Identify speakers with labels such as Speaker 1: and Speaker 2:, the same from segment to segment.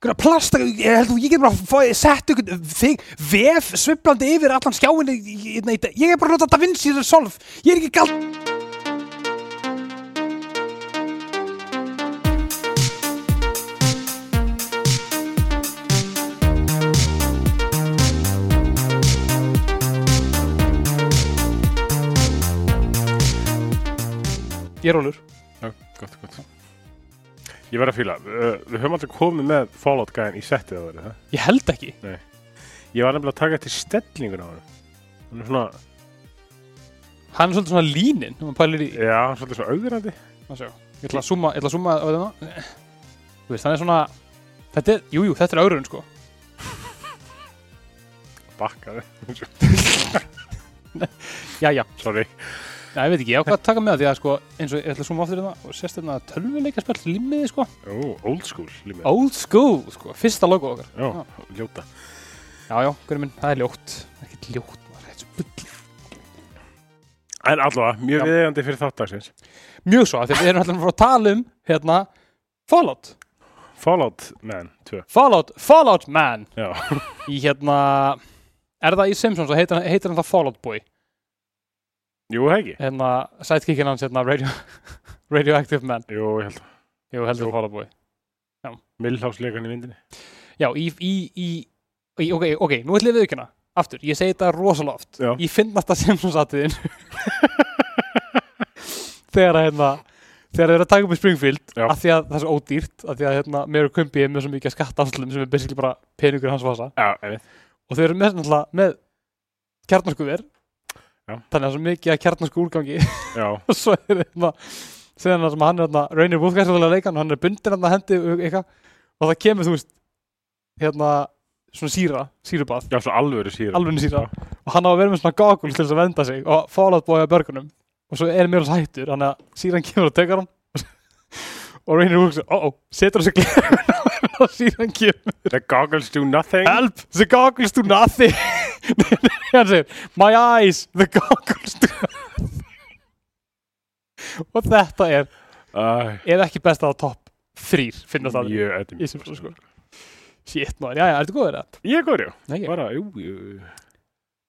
Speaker 1: einhverja plast ég held að ég get bara fóið, sett einhvern þig, vef sviplandi yfir allan skjáin ég, ég, ég, ég er bara að nota Da Vinci Resolve ég er ekki gald ég er ólur
Speaker 2: Já, gott, gott Ég verð að fýla, uh, við höfum aldrei komið með Fallout gæðin í settið að vera það
Speaker 1: ég held ekki
Speaker 2: Ég var nefnilega að taka eftir stellingun á hann Hún er svona,
Speaker 1: hann er svolítið svona línin hann pælir í
Speaker 2: já, svolítið svona auðurandi
Speaker 1: Má sjá. Ég ætla að súma, ég ætla að súma á þetta Þú veist, þannig svona Þetta er, jújú, jú, þetta er áraun sko
Speaker 2: Bakkaði,
Speaker 1: Já, já,
Speaker 2: sorry
Speaker 1: já ég veit ekki, ég ákvað að taka með það því að sko eins og ég ætla að súma aftur þetta hérna og sérst þetta tölvuleikaspjall limmiði sko
Speaker 2: Ó, old school límið
Speaker 1: Old school, sko, fyrsta logo okkar
Speaker 2: Já, ljóta
Speaker 1: Já, já, hverju minn, það er ljótt Ekkert ljótt, maður, þetta er svo bull
Speaker 2: En allavega,
Speaker 1: Já.
Speaker 2: mjög viðeigandi fyrir þáttagsins
Speaker 1: Mjög svo, af því að við erum alltaf að fara að tala um hérna, Fallout
Speaker 2: Fallout Man 2
Speaker 1: Fallout, Fallout Man
Speaker 2: Já,
Speaker 1: í hérna Er það í Simpsons, það heitir, heitir hann það Fallout Boy
Speaker 2: jú, hegi
Speaker 1: hérna, sidekickin hans hérna, radio, Radioactive Man
Speaker 2: Jú, ég held að
Speaker 1: Jú, heldur
Speaker 2: Jú.
Speaker 1: Fallout Boy
Speaker 2: Milhouse leikan í myndinni
Speaker 1: Já, í, í, í, í ok, ok, nú ætlum við aukjana aftur, ég segi þetta rosalega oft
Speaker 2: Já.
Speaker 1: ég finn þetta Simpsons-atriðin þegar að hérna þegar þeir eru að taka upp í Springfield
Speaker 2: Já.
Speaker 1: af því að það er svo ódýrt af því að hérna, Mary Kumbi er með svo mikið skattafslum sem er basically bara peningur í hans vasa
Speaker 2: Já, en
Speaker 1: og þau eru með, náttúrulega með kjarnarskuver
Speaker 2: Já.
Speaker 1: þannig að svo mikið að kjarnarsku úrgangi
Speaker 2: Já,
Speaker 1: og svo er hérna segðan það sem hann er hérna Rainier Wolfgarsson að leika hann og hann er bundin hérna hendi og eitthvað og það kemur þú veist hérna svona síra, sírubað
Speaker 2: já, svo alvöru síðan
Speaker 1: alveg síra og hann á að vera með svona gagul til þess að venda sig og Fallout Boy á börgunum og svo er mjög hættur þannig að síran kemur og tekar hann og Rainier Wolfgarsson, ó ó, setur þessu glerum og síran kemur
Speaker 2: The goggles do nothing
Speaker 1: Help, the goggles do nothing Nei, nei, Hann segir, my eyes, the goggles do nothing Og þetta er
Speaker 2: Æ,
Speaker 1: ef ekki besta á topp þrýr finnast að
Speaker 2: Mjög þetta er
Speaker 1: Í Simpsons, sko. shit maður, já já, ertu góður eða?
Speaker 2: Ég er góður, já
Speaker 1: Nei, ég-
Speaker 2: Bara, jú, jú jú.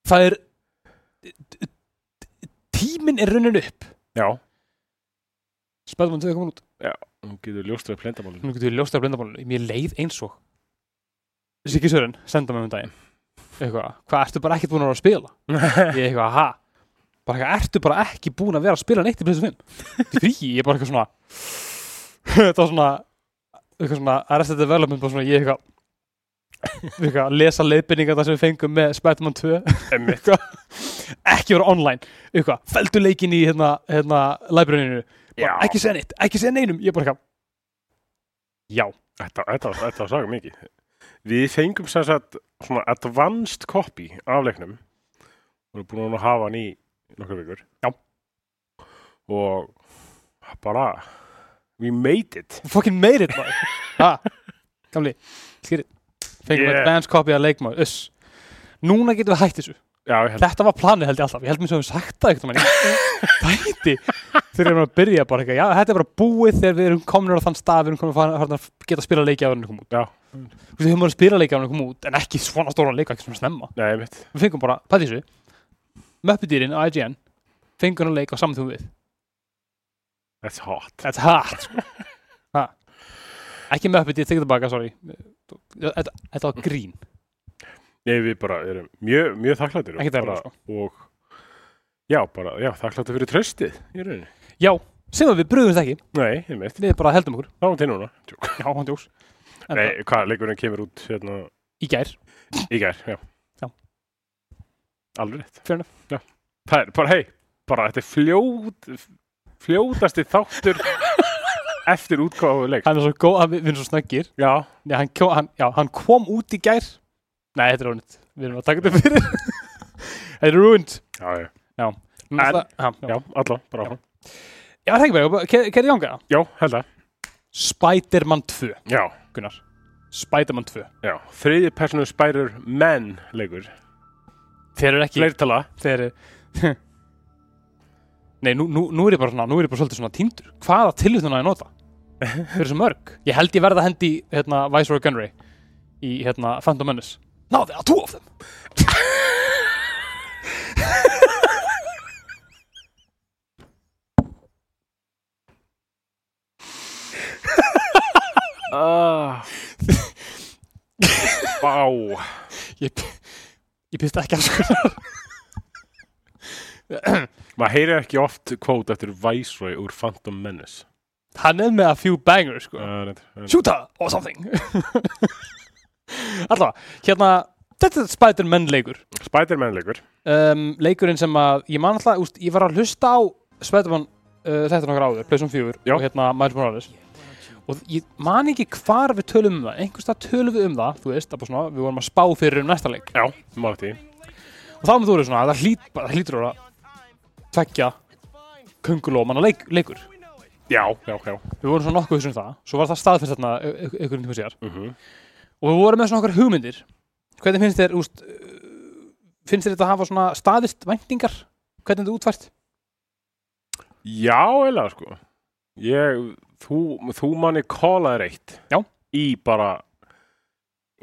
Speaker 1: það er tíminn er runnin upp
Speaker 2: Já,
Speaker 1: spæðum hann til að koma út
Speaker 2: hún getur ljóstrað plendamálinu
Speaker 1: nú getur við ljóst af blindamálunum, mér leið eins og Siggi Sören, senda mig um daginn eitthvað, hvað ertu bara ekkert búin að vera að spila ég er eitthvað, ha bara eitthvað, ertu bara ekki búin að vera að spila neitt í plessu 5 þetta er frí, ég er bara eitthvað svona þetta var svona eitthvað svona, arrested development bara svona, ég er eitthvað eitthvað að lesa leiðbyrningar það sem við fengum með Spiderman 2
Speaker 2: Emmitt
Speaker 1: ekki vera online eitthvað, feldu leikin í hérna, hérna libraryinu, bara
Speaker 2: Já.
Speaker 1: ekki segja neitt ekki segja neinum, ég bara eitthvað já,
Speaker 2: Þetta, þetta, var- þetta var saga mikið. Við fengum sem sagt svona advanced copy af leiknum. Við erum búin að hafa hann í nokkar vikur.
Speaker 1: Já.
Speaker 2: Og bara, we made it.
Speaker 1: fucking made it maður ha, gamli, skýrit fengum
Speaker 2: Yeah.
Speaker 1: yeah. advance copy að leikmaður, uss núna getum við hætt þessu,
Speaker 2: Já, ég held
Speaker 1: þetta var planið held ég alltaf ég held mér sem við höfum sagt það eitthvað þætti, þegar við erum að byrja bara eitthvað, já, þetta er bara búið þegar við erum komin á þann stað, við erum komin að fara- farin að geta að spila leiki af hann kom út,
Speaker 2: Já,
Speaker 1: Þú veist, við höfum verið að spila leiki af hann kom út en ekki svona stóran leika, ekki svona snemma
Speaker 2: nei, mitt.
Speaker 1: við fengum bara, pæli þessu Möppudýrin á IGN fengum hann leik á samtum við
Speaker 2: That's hot.
Speaker 1: That's hot sko. ha. ekki Möppudýr, tekið tilbaka, sorry þetta þetta var grín
Speaker 2: Nei, við bara erum mjög, mjög þakklættir.
Speaker 1: Ekkert erfitt, sko.
Speaker 2: Og, já, bara, já, þakklættir fyrir tröstið í rauninni.
Speaker 1: já, sem að við brugumst ekki,
Speaker 2: Nei, ég mitt.
Speaker 1: við bara heldum okkur
Speaker 2: Það var til núna. Tjók.
Speaker 1: já, hann djóks En
Speaker 2: Nei, hvað, leikurinn kemur út hérna
Speaker 1: í gær,
Speaker 2: í gær, já.
Speaker 1: Já.
Speaker 2: Alveg rétt.
Speaker 1: Fair enough.
Speaker 2: Já. Það er bara, hei, bara þetta er fljót, fljótasti þáttur eftir útgáfu leik.
Speaker 1: hann er svo góð, hann, við erum svo snöggir
Speaker 2: Já.
Speaker 1: Nei, hann, kom, hann, já, hann kom út í gær nei, þetta er ónýtt, við erum að taka þetta fyrir þetta er ruined
Speaker 2: Já, já.
Speaker 1: Næsta, ha, já.
Speaker 2: Já, allan, bara áfram.
Speaker 1: já, það er ekki bara, kæri Jónga
Speaker 2: Já, held að.
Speaker 1: Spider-Man 2,
Speaker 2: Já,
Speaker 1: Gunnar Spider-Man 2
Speaker 2: já. Þriði personu spærir menn leikur.
Speaker 1: þeir eru ekki
Speaker 2: Fleirtala.
Speaker 1: þegar Nei, nú, nú, nú er ég bara svona, nú er ég bara svolítið svona týndur. Hvaða tilvitnuna ég nota? fyrir svo mörg ég held ég verða að hendi hérna Viceroy Gunray í hérna Phantom Menace náði að tvo af þeim
Speaker 2: Ah. Vá,
Speaker 1: ég, ég pýst ekki sko. afsökunar
Speaker 2: maður heyrir ekki oft kvót eftir Viceroy úr Phantom Menace
Speaker 1: hann er með a few bangers sko
Speaker 2: uh, reynd, reynd.
Speaker 1: shooter or something allavega hérna þetta er Spider-Man leikur
Speaker 2: Spider-Man leikur
Speaker 1: um, leikurinn sem að ég man alltaf úst, ég var að hlusta á Spider-Man uh, þetta nokkar áður, Playsum 4
Speaker 2: Já.
Speaker 1: og hérna Miles Morales og ég man ekki hvar við tölum um það einhverstað tölum við um það, þú veist að bara svona, við vorum að spá fyrir um næsta leik
Speaker 2: Já, maður því
Speaker 1: og þá erum þú verið svona, það, hlýt, bara- það hlýtur að vera tvekja kungulómanna leik, leikur
Speaker 2: Já, já, já
Speaker 1: við vorum svona nokkuð þessum það, svo var það staðfyrst þarna e, einhvern tíma sér
Speaker 2: uh -huh.
Speaker 1: og við vorum með svona okkar hugmyndir hvernig finnst þér, úst, finnst þér þetta að hafa svona staðist væntingar hvernig þetta er útfært
Speaker 2: Já, eiginlega sko Ég, þú, þú manni kólaðir eitt
Speaker 1: Já.
Speaker 2: Í bara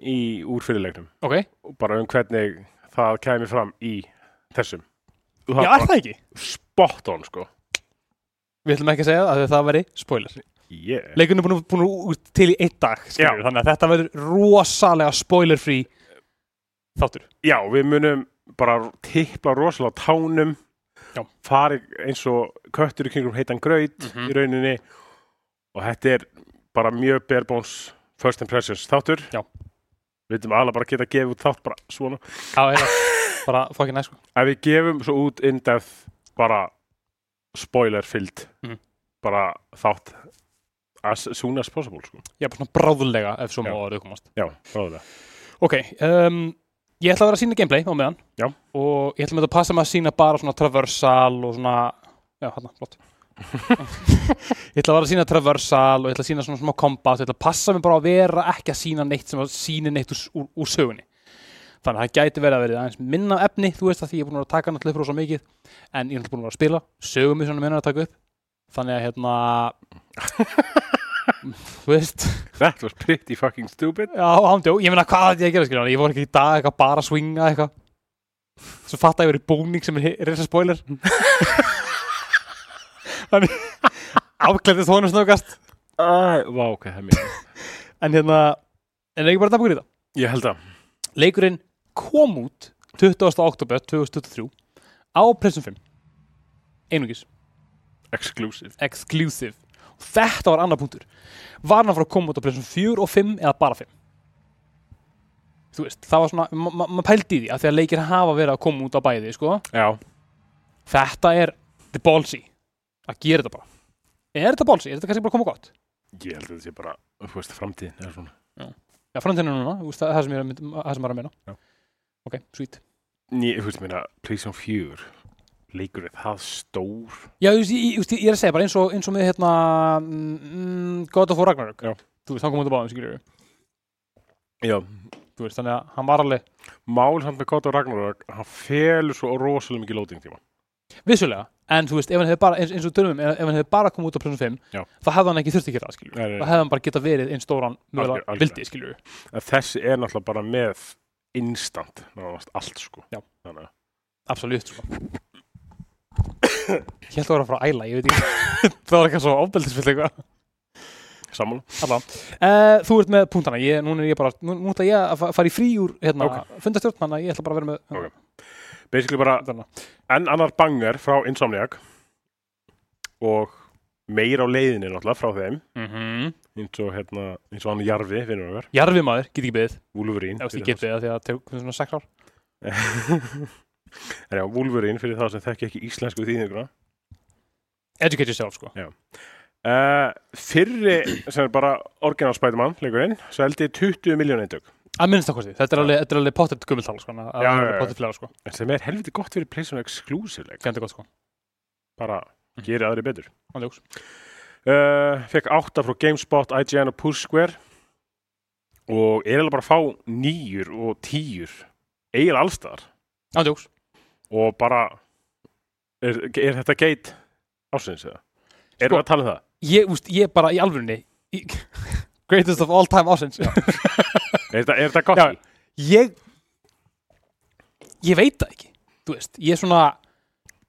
Speaker 2: Í úrfyrirleiknum
Speaker 1: ok,
Speaker 2: Og bara um hvernig það kæmi fram í þessum Og
Speaker 1: já
Speaker 2: það
Speaker 1: er
Speaker 2: var
Speaker 1: það ekki
Speaker 2: Spot on sko
Speaker 1: Við ætlum ekki að segja það að það væri spoiler.
Speaker 2: yeah.
Speaker 1: Leikurinn er búin, búin út til í einn dag, skilur,
Speaker 2: Já.
Speaker 1: þannig að þetta verður rosalega spoiler-free þáttur.
Speaker 2: Já, við munum bara tippla rosalega á tánum
Speaker 1: Já.
Speaker 2: Fari eins og köttur í kringum heitan graut
Speaker 1: Mhm.
Speaker 2: Í rauninni Og þetta er bara mjög barebóns First impressions þáttur
Speaker 1: Já.
Speaker 2: Við veitum alveg bara að geta að gefa út þátt bara svona
Speaker 1: Það er bara fokkin næst, sko.
Speaker 2: ef við gefum svo út in-depth bara spoiler fyllt
Speaker 1: Mhm.
Speaker 2: bara þátt as soon as possible sko.
Speaker 1: Ég er bara svona bráðulega ef svo má
Speaker 2: Já.
Speaker 1: orðið komast.
Speaker 2: já, ráðulega
Speaker 1: Ok, um, ég ætla að vera að sína gameplay á meðan.
Speaker 2: Já.
Speaker 1: Og ég ætla með þetta að passa með að sína bara svona traversal og svona, já, hann, flott. ég ætla að vera að sína traversal og ég ætla að sína svona smá kombat, ég ætla að passa mig bara að vera ekki að sína neitt sem að sína neitt úr, úr, úr sögunni. þannig að það gæti verið að verið aðeins minna af efni þú veist að því ég er búin að vera að taka náttúrulega frá svo mikið en ég er náttúrulega búin að vera að spila sögum mig svona minna að taka upp þannig að hérna þú veist
Speaker 2: that was pretty fucking stupid
Speaker 1: já, ándjó, ég meina hvað ætti ég að gera skilja ég voru ekki í dag eitthvað bara að swinga eitthvað svo fatt að ég verið búning sem er hi- risa spoiler þannig afklæðist honum snöggast
Speaker 2: uh, vá, ok, það er mér
Speaker 1: en hérna en er ekki bara að tapur í þetta
Speaker 2: ég held að
Speaker 1: leikurinn kom út 20. oktober 2023 á Playsum 5 einungis
Speaker 2: exclusive
Speaker 1: exclusive og þetta var annar punktur var hann að fara að koma út á Playstation 4 og 5 eða bara 5 þú veist, það var svona ma- ma- maður pældi í því að því að leikir hafa verið að koma út á bæði sko.
Speaker 2: já,
Speaker 1: þetta er the ballsy að gera þetta bara er þetta ballsy, er þetta kannski bara að koma gott
Speaker 2: ég held að þetta sé bara þú veist, framtíðin er svona
Speaker 1: já, framtíðinu núna, þú veist, það, það sem ég er að, mynd- það sem maður er að meina
Speaker 2: Já.
Speaker 1: ok, sweet
Speaker 2: Ný, þú veist, minna, PlayStation 4 leikur er það stór
Speaker 1: já, þú veist, ég, ég, þú veist, ég er að segja bara eins og, eins og með hérna mm, God of War Ragnarök
Speaker 2: Já.
Speaker 1: þú veist, hann kom út á báðum, skilur
Speaker 2: já,
Speaker 1: þú veist, þannig að hann var alveg
Speaker 2: mál samt með God of Ragnarök hann felur svo rosalega mikið loading tíma
Speaker 1: vissulega en þú veist, ef hann hefði bara, eins, eins og törnum ef ef hann hefði bara komið út á Playsum 5
Speaker 2: Já.
Speaker 1: þá hefði hann ekki þurfti að gera það, skiljur
Speaker 2: Nei, nei, nei.
Speaker 1: þá hefði hann bara getað verið einn stóran mögulega
Speaker 2: Algjör-
Speaker 1: vildi, skiljur
Speaker 2: að þessi er náttúrulega bara með instant, náttúrulega allt sko
Speaker 1: Já.
Speaker 2: þannig að
Speaker 1: absolutt sko. ég held að vera að fara að æla, ég veit ekki það var eitthvað svo ofbeldisvill eitthvað
Speaker 2: sammála
Speaker 1: Allavega. uh, þú ert með punktana, ég, núna er ég bara nú, nú ætla ég að fa- fara í frí úr hérna, okay. fundastjórn, þannig að ég ætla bara að vera með hérna,
Speaker 2: Ok. basically bara
Speaker 1: Þarna.
Speaker 2: enn annar banger frá Insomniac og meira á leiðinni náttúrulega frá þeim
Speaker 1: Mhm.
Speaker 2: eins og hérna, eins og hann Jarfi finnum við okkar,
Speaker 1: Jarfi maður, get ekki beðið,
Speaker 2: Wolverine
Speaker 1: ef ég
Speaker 2: fyrir
Speaker 1: get beðið af því að það tekur svona 6 ár
Speaker 2: þá- en já, Wolverine fyrir það sem þekki ekki íslensku þýðinguna
Speaker 1: educate yourself, sko
Speaker 2: uh, fyrri sem er bara orginal Spiderman leikurinn, seldi 20 miljón eindök
Speaker 1: að minnst það kosti, þetta er alveg, þetta er alveg pottet gummiltal, sko, að-
Speaker 2: Já, já,
Speaker 1: að
Speaker 2: já.
Speaker 1: pottet flera, sko,
Speaker 2: en sem er helviti gott fyrir PlayStation Exclusive leik.
Speaker 1: fjandi gott, sko
Speaker 2: bara
Speaker 1: Mhm.
Speaker 2: gerir aðri betur
Speaker 1: Hann ljóks.
Speaker 2: uh, fekk átta frá GameSpot, IGN og PushSquare og er eiginlega bara að fá nýjur og tíjur eiginlega allstaðar
Speaker 1: Hann ljóks.
Speaker 2: og bara er, er þetta geit ásins eða? Erum
Speaker 1: Sko-
Speaker 2: við að tala um það?
Speaker 1: ég, úst, ég bara í alvörunni í- greatest of all time ásins
Speaker 2: Er þetta, er þetta gott?
Speaker 1: Já. ég ég veit það ekki þú veist, ég er svona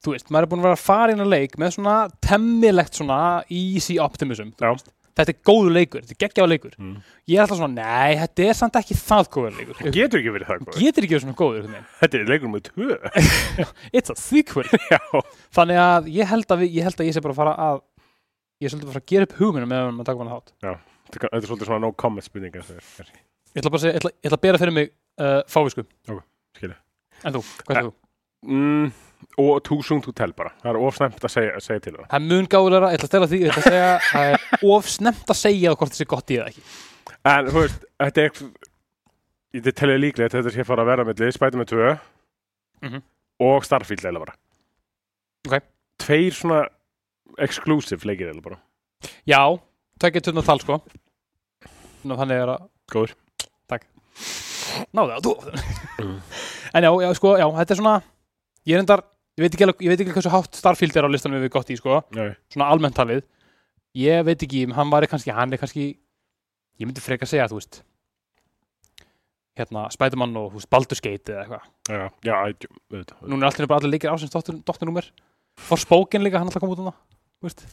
Speaker 1: þú veist, maður er búin að vera að fara inn að leik með svona temmilegt svona easy optimism
Speaker 2: Já.
Speaker 1: þetta er góður leikur, þetta er geggjáður leikur
Speaker 2: Mm.
Speaker 1: ég er alltaf svona, nei, þetta er samt ekki það góður leikur, Ég
Speaker 2: Getur ekki verið það góð.
Speaker 1: getur ekki verið svona góður einhvern veginn.
Speaker 2: Þetta er leikur með tvö.
Speaker 1: it's a sequel
Speaker 2: Já.
Speaker 1: þannig að ég held að, við, ég held að ég sé bara að fara að ég er svolítið bara að fara að gera upp hugminu með að taka hana hát
Speaker 2: Þetta er svolítið svona no comment spurninga.
Speaker 1: ég ætla bara að segja, ég ætla, ég ætla að bera fyrir mig uh, fávisku
Speaker 2: Ok, skilja.
Speaker 1: en þú, hvað er þú?
Speaker 2: Mm, og too soon to tell bara. Það er ofsnæmt að segja, segja til um það.
Speaker 1: Það er mun gáðulega, ég ætla að stela því, ég ætla að segja það er of snemt að segja hvort það sé gott í eða ekki.
Speaker 2: En þú veist, þetta er þetta er telja líklegt að þetta sé fara að vera milli Spider-Man 2
Speaker 1: Mhm.
Speaker 2: og Starfield eða bara.
Speaker 1: Ok.
Speaker 2: Tveir svona exclusive leikir eða bara.
Speaker 1: Já, tökja tunn og tal sko. Nú, þannig er að...
Speaker 2: Góður.
Speaker 1: Takk. Náðu það, þú.
Speaker 2: Mm.
Speaker 1: en já, já, sko, já, þetta er svona, ég er endar, ég veit ekki, alveg- ég veit ekki hversu hátt Starfield er á listanum við gott í, sko,
Speaker 2: Nei.
Speaker 1: svona almennt talið. Ég veit ekki, hann var kannski, hann er kannski, ég myndi freka að segja, þú veist, hérna, Spiderman og, þú veist, Baldur's Gate eða eitthvað.
Speaker 2: Já, já, ætjú, auðvitað.
Speaker 1: núna er alltaf bara allir leikir ásins dóttur, dóttunúmer Forspoken líka, hann alltaf kom út um það þú veist.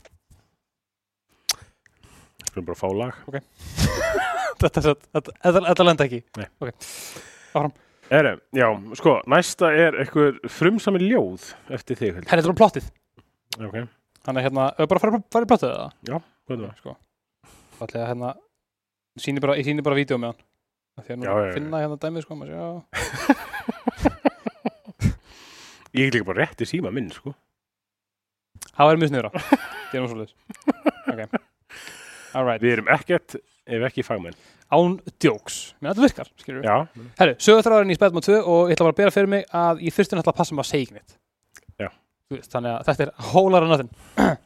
Speaker 2: Skulum bara fá lag.
Speaker 1: þetta, þetta, þetta, þetta, þetta lenda ekki
Speaker 2: Erum, já, sko, næsta er eitthvað frumsami ljóð eftir þig, heldur.
Speaker 1: henni þetta er um plottið
Speaker 2: Já, Ok,
Speaker 1: hann er hérna, ef við bara farið fari plottið eða
Speaker 2: hvað er það?
Speaker 1: sko. allir að hérna ég sýni bara, ég sýni bara vídeo með hann Af því að nú
Speaker 2: Já, já, já.
Speaker 1: finna hérna dæmið sko maður, já.
Speaker 2: Ég er líka bara rétt í síma minn, sko.
Speaker 1: það væri mjög sniður gerum svo leis ok alright,
Speaker 2: Við erum ekkert, ef ekki fagmenn.
Speaker 1: án djóks menn þetta virkar, skilur við
Speaker 2: Já,
Speaker 1: herru, sögutráðurinn í Spedman 2 og ég ætla bara að bera fyrir mig að ég fyrstum ætla að passa mig að segja ekki neitt
Speaker 2: Já.
Speaker 1: Þú veist, þannig að þetta er hólar en nothing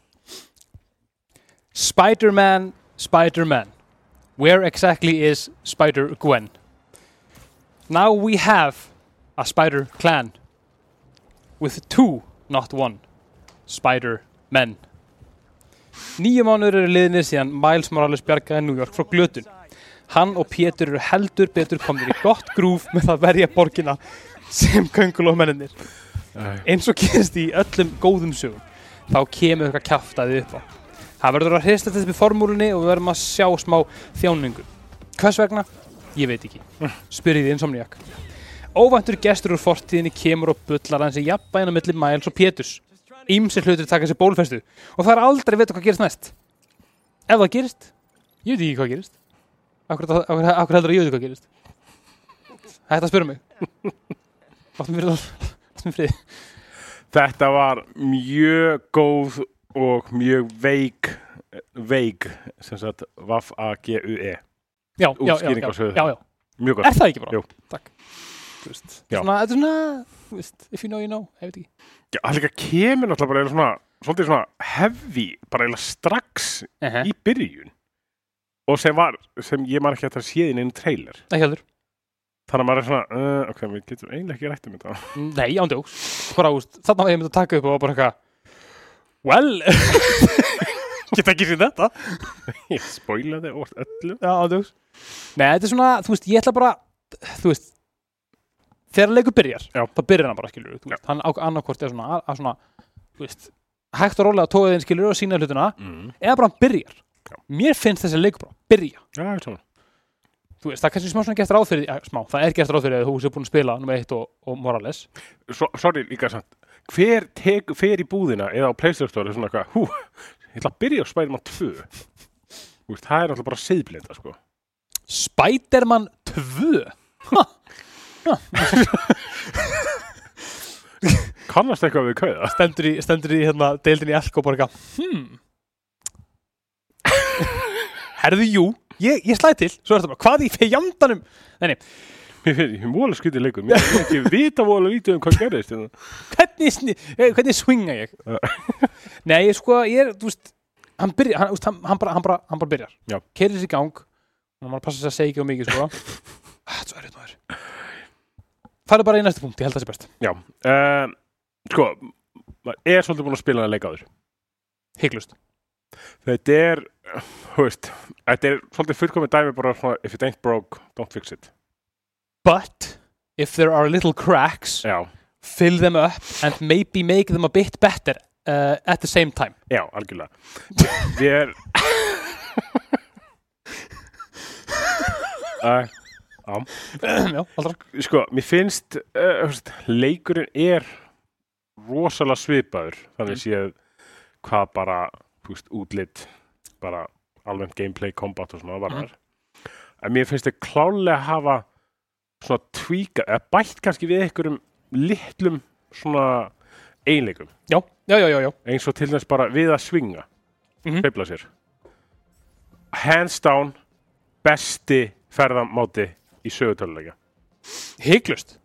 Speaker 1: Spider-Man Spider-Man Where exactly is Spider-Gwen? Now we have a Spider-Clan with two, not one Spider-Men Nýju mánuður eru liðinir síðan Miles Morales bjargaði New York frá glötun Hann og Pétur eru heldur betur komnir í gott grúf með það verja borgina sem köngulómennir
Speaker 2: Æ,
Speaker 1: eins og gerist í öllum góðum sögum þá kemur eitthvað kjaftaði upp á það verður að hrista þetta upp í formúlunni og við verðum að sjá smá þjáningu hvers vegna? Ég veit ekki spyrjið insomniak óvæntur gestur úr fortíðinni kemur og bullar hans í jafnbæðina milli Miles og Péturs ímsir hlutur taka sér bólfestu og það er aldrei að vita hvað gerist næst ef það gerist, ég veit ekki hvað gerist akkur, akkur, akkur heldur að ég veit hvað gerist Þetta spyrir mig Láttum við Láttum við frið
Speaker 2: Þetta var mjög góð og mjög veik, veik, sem sagt, V-A-G-U-E.
Speaker 1: já, já, já,
Speaker 2: Útskýring
Speaker 1: já,
Speaker 2: á sögðu.
Speaker 1: já, já.
Speaker 2: E.
Speaker 1: er
Speaker 2: Mjög gott.
Speaker 1: það ekki bara?
Speaker 2: Jú.
Speaker 1: Takk Þú veist,
Speaker 2: Já.
Speaker 1: svona, þetta er svona þú veist, if you know, you know, ég veit
Speaker 2: Já, Það líka kemur náttúrulega bara eiginlega svona, svolítið svona heavy, bara eiginlega strax
Speaker 1: ekki
Speaker 2: í byrjun. Og sem var, sem ég maður ekki að það séð inn einu trailer.
Speaker 1: Ekki heldur,
Speaker 2: Þannig að maður er svona, uh, ok, við getum eiginlega ekki rætt um þetta.
Speaker 1: nei, ándjóks bara, þú veist, þarna var ég myndi að taka upp og var bara eitthvað well geta ekki sér þetta
Speaker 2: Ég spoilaði og öllu.
Speaker 1: já, ándjóks nei, þetta er svona, þú veist, ég ætla bara þú veist þegar leikur byrjar,
Speaker 2: Já.
Speaker 1: þá byrjar hann bara, skilur við, þú veist, hann annarkvort er svona að, að svona, þú veist hægt og rólega tóðið inn, skilur við, og sína hlutina
Speaker 2: Mm.
Speaker 1: eða bara hann byrjar
Speaker 2: Já.
Speaker 1: mér finnst þessi leikur bara að byrja
Speaker 2: Já, ég er saman.
Speaker 1: þú veist, það er kannski smá svona gert ráð fyrir ja, smá, það er gert ráð fyrir að þú sé búin að spila nummer 1 og, og Morales
Speaker 2: so, sorry líka samt hver tek, fer í búðina eða á Playstation Store svona eitthvað, hú, ég ætla að byrja á Spiderman 2 Þú veist, það er alltaf bara seiðblenda sko
Speaker 1: Spider-Man 2
Speaker 2: kannast eitthvað við kauða
Speaker 1: stendur í, stendur í hérna, deildin í Elko og bara eitthvað hmm herðu jú ég, ég slæði til, svo er þetta bara, hvað í fejandanum
Speaker 2: mér finnst, ég móla skutið leikur mér finnst ekki vita móla lítið um hvað gerðist hérna.
Speaker 1: hvernig, sni- eh, hvernig swinga ég
Speaker 2: Já.
Speaker 1: nei, ég sko, ég er, þú veist hann byrjar, hann, þú veist, hann, hann, bara, hann, bara, hann bara byrjar
Speaker 2: Já.
Speaker 1: keirir sér í gang hann var að passa sér að segja ekki á mikið sko ah, svo er þetta maður farðu bara í næsta punkt, ég held það sé best
Speaker 2: já, eh, um, sko maður er svolítið búin að spila hann að leika áður
Speaker 1: hygglust
Speaker 2: Þetta er, þú veist, þetta er svolítið fullkomið dæmi bara svona, if it ain't broke, don't fix it.
Speaker 1: But if there are little cracks,
Speaker 2: Já,
Speaker 1: fill them up and maybe make them a bit better uh, at the same time.
Speaker 2: já, algjörlega. Við er... Æ,
Speaker 1: Já, aldrei.
Speaker 2: sko, mér finnst, uh, þú veist, leikurinn er rosalega svipaður, þannig
Speaker 1: Mm.
Speaker 2: séð hvað bara, þú veist, útlit, bara almennt gameplay, combat og svona varðar. En mér finnst þetta klálega að hafa svona tvíka, eða bætt kannski við einhverjum litlum svona einleikum,
Speaker 1: Já, já, já, já, já.
Speaker 2: eins og til dæmis bara við að svinga,
Speaker 1: Mhm.
Speaker 2: feifla sér. Hands down, besti ferðamáti í sögutöluleika.
Speaker 1: Hygglust.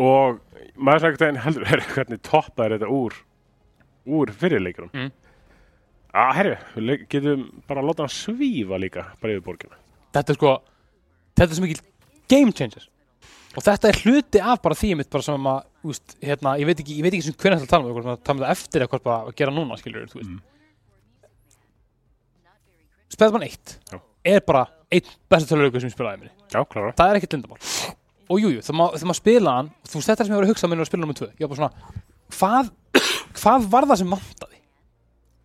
Speaker 2: og maður sagði einhvern veginn heldur herri, hvernig toppar þetta úr úr fyrirleikurum
Speaker 1: Mm.
Speaker 2: að herri, við leik- getum bara að láta hann svífa líka bara yfir borgina
Speaker 1: Þetta er sko, þetta er svo mikil game changer. Og þetta er hluti af bara því mitt bara sem að, úst, hérna, ég veit ekki, ég veit ekki sem hvernig þetta tala um, hvort maður tala um það eftir eða hvort bara að gera núna, skilur þú veist. Mm. Spæðmann 1
Speaker 2: Já.
Speaker 1: er bara einn besta töluleikur sem ég spilaði í minni.
Speaker 2: já, klára
Speaker 1: það er ekkert lindamál og jújú, þegar maður ma spila hann þú veist þetta er sem ég var að hugsa með að spila nummer 2 ég var bara svona, hvað hvað var það sem vantaði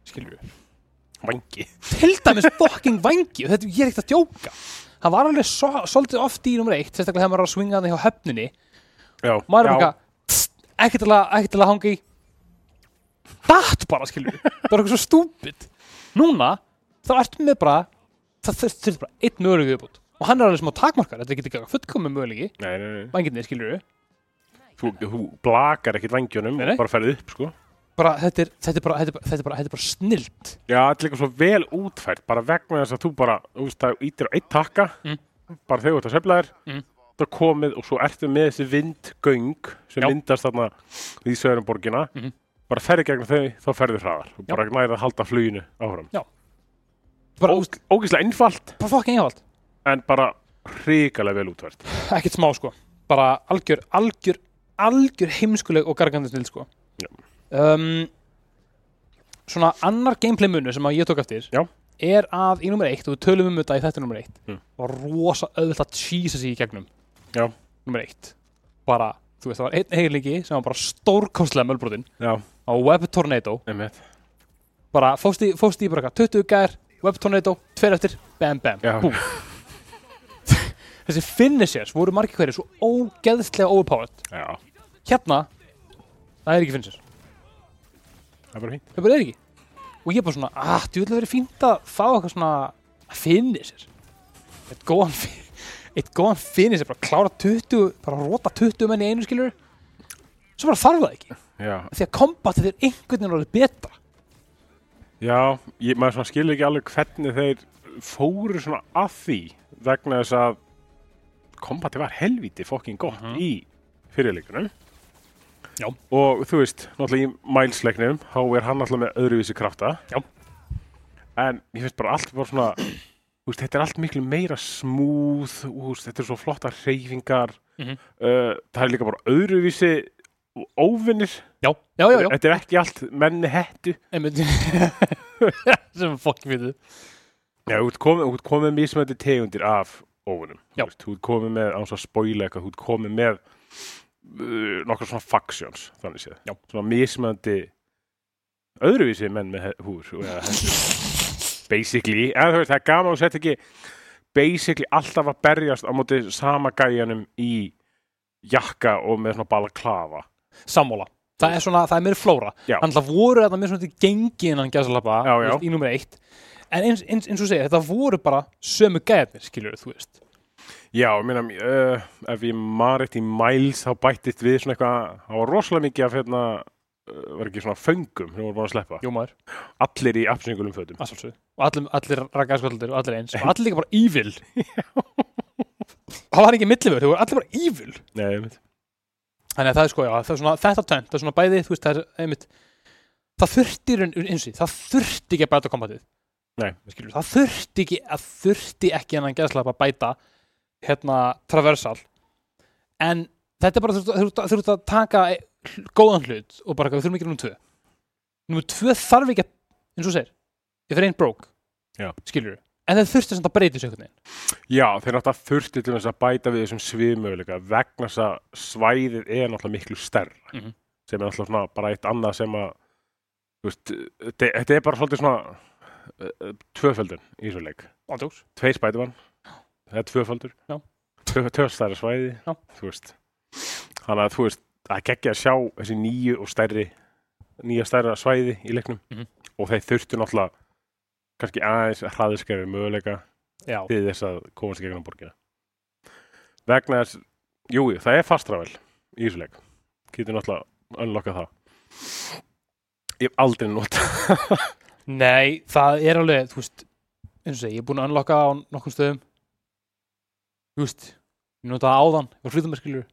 Speaker 1: skilur við,
Speaker 2: vangi
Speaker 1: til dæmis fucking vangi og þetta ég er ekkert að djóka það var alveg so, svolítið oft í nummer 1 sérstaklega þegar maður er að swinga hann hjá höfninni
Speaker 2: já,
Speaker 1: maður er bara
Speaker 2: já,
Speaker 1: eitthvað, ekkert til að ekkert til að hanga í datt bara skilur við, bara eitthvað svo stúpid núna, þá ertum við bara það þurftur bara einn möguleg viðbútt og hann er alveg smá takmarkar, þetta getur ekki að fullkomum mögulegi
Speaker 2: nei, nei, nei.
Speaker 1: vangirnir skilur við
Speaker 2: Þú, þú blakar ekkit vangjunum
Speaker 1: Nei,
Speaker 2: nei,
Speaker 1: nei.
Speaker 2: bara ferði upp sko
Speaker 1: bara, þetta er, þetta er bara, þetta er bara, þetta er bara, þetta er bara snilt.
Speaker 2: já, þetta er líka svo vel útfært bara vegna þess að þú bara, þú veist, það ítir á eitt takka
Speaker 1: Mm.
Speaker 2: bara þegar þú ert að söfla þér
Speaker 1: Mm.
Speaker 2: það komið og svo ertu með þessi vindgöng sem
Speaker 1: Já.
Speaker 2: myndast þarna í sögurum borgina
Speaker 1: Mhm.
Speaker 2: bara ferði gegn þau, þá ferði hraðar og
Speaker 1: Já.
Speaker 2: bara nærið að halda fluginu áfram
Speaker 1: Bara,
Speaker 2: Ó,
Speaker 1: úst,
Speaker 2: ógislega einfalt
Speaker 1: bara fokkin einfalt.
Speaker 2: en bara hrikalega vel útvært
Speaker 1: Ekkert smá, sko. Bara algjör, algjör, algjör heimskuleg og gargandi snilt, sko.
Speaker 2: Já.
Speaker 1: Um, svona annar gameplay munu sem að ég tók eftir
Speaker 2: Já.
Speaker 1: er að í nummer eitt, og við tölum um þetta í þetta nummer eitt,
Speaker 2: Mm.
Speaker 1: var rosa auðvitað að tísa sig í gegnum
Speaker 2: Já.
Speaker 1: nummer eitt. Bara, þú veist, það var einn eiginleiki sem var bara stórkostlega mölbrotin
Speaker 2: já,
Speaker 1: á Web Tornado
Speaker 2: einmitt
Speaker 1: bara fóst í, fóst í bara eitthvað, 20 gær Web Tornado, tveir eftir, bam bam
Speaker 2: Já.
Speaker 1: búm. þessi finishers voru margir hverju svo ógeðslega overpowered
Speaker 2: já,
Speaker 1: hérna, það er ekki finishers
Speaker 2: það er bara fínt
Speaker 1: það bara er ekki og ég bara svona, að þú vil verið fínt að fá eitthvað svona finishers eitt góðan fi- eitt góðan finisher, bara klára 20 bara rota 20 menn í einu skilur svo bara þarf það ekki
Speaker 2: já,
Speaker 1: því að kombatið er einhvern veginn alveg betra
Speaker 2: já ég, maður svona skilur ekki alveg hvernig þeir fóru svona að því vegna þess að kombati var helviti fokkin gott í fyrirleikunum
Speaker 1: Mhm. Já.
Speaker 2: og þú veist, náttúrulega í mælsleiknum þá er hann náttúrulega með öðruvísi krafta
Speaker 1: Já.
Speaker 2: en ég finnst bara allt bara svona þú veist, þetta er allt miklu meira smúð veist, þetta er svo flotta hreyfingar
Speaker 1: Mhm.
Speaker 2: uh, það er líka bara öðruvísi óvinnir
Speaker 1: já, já, já, já.
Speaker 2: þetta er ekki allt menni hettu
Speaker 1: Einmitt sem fokk við
Speaker 2: Já, þú ert komið, þú ert komið með mismöndi tegundir af óvunum.
Speaker 1: Já.
Speaker 2: Þú veist, Þú ert komið með, án svo að spoila eitthvað, þú ert komið með uh, nokkra svona factions, þannig séð.
Speaker 1: Já.
Speaker 2: Svona mismöndi öðruvísi menn með he- húr. og eða hendur. basically, en þú veist, það er gaman að setja ekki basically alltaf að berjast á móti sama gæjanum í jakka og með svona balaklafa.
Speaker 1: sammála það er svona, það er meiri flóra
Speaker 2: Já.
Speaker 1: þannig að voru þetta mér svona til gengi innan gæðsalapa
Speaker 2: Já, já.
Speaker 1: í nummer eitt en eins, eins, eins og segja, þetta voru bara sömu gæðir, skilur þú veist
Speaker 2: Já, ég meina, uh, ef ég marið í Miles þá bættist við svona eitthvað, það var rosalega mikið af hérna, uh, var ekki svona föngum sem voru búin að sleppa.
Speaker 1: Jú maður,
Speaker 2: Allir í absengulum fötum.
Speaker 1: að sjálfsögðu. og allir, allir rakkaðskvöldur og allir eins og allir líka bara evil það var ekki millivör, þau voru allir bara evil
Speaker 2: Nei, ég veit.
Speaker 1: þannig að það er sko, já, það er svona þetta tvennt, það er svona bæði, þú veist, það er einmitt það þurfti, í raun- eins og því, það þurfti ekki að bæta kombatið
Speaker 2: Nei.
Speaker 1: skilur, það þurfti ekki að þurfti ekki hennan gæðslap að bæta hérna traversal en þetta er bara þurft, þurft, þurft að taka e- hl- góðan hlut og bara eitthvað, við þurfum ekki númer tvö númer tvö þarf ekki að eins og þú segir, if it ain't broke
Speaker 2: Já.
Speaker 1: skilur en það þurfti samt að breyta þessu einhvern veginn
Speaker 2: Já, þeir náttúrulega þurfti til þess að bæta við þessum sviðmöguleika vegna þess að svæðið er náttúrulega miklu stærra
Speaker 1: Mhm.
Speaker 2: sem er náttúrulega svona bara eitt annað sem að þú veist, þe- þetta er bara svolítið svona uh, uh, tvöföldun í þessu leik
Speaker 1: ándjóks
Speaker 2: Tveir spætumann, það er tvöföldur
Speaker 1: Já.
Speaker 2: Tvö- tvö stærra svæði
Speaker 1: Já.
Speaker 2: þú veist Þannig að þú veist, það geggja að sjá þessi nýju og stærri nýja stærra svæði í leiknum
Speaker 1: Mhm.
Speaker 2: og þeir þurftu náttúrulega kannski aðeins hraðiskeri möguleika
Speaker 1: já,
Speaker 2: til þess að komast í gegnum borgina vegna þess jú, jú, það er fastravel í þessu leik getur náttúrulega unlocka það ég hef aldrei nota
Speaker 1: nei, það er alveg þú veist, eins og segi, ég er búin að unlocka á nokkrum stöðum þú veist, ég notaði áðan og flytum með skilur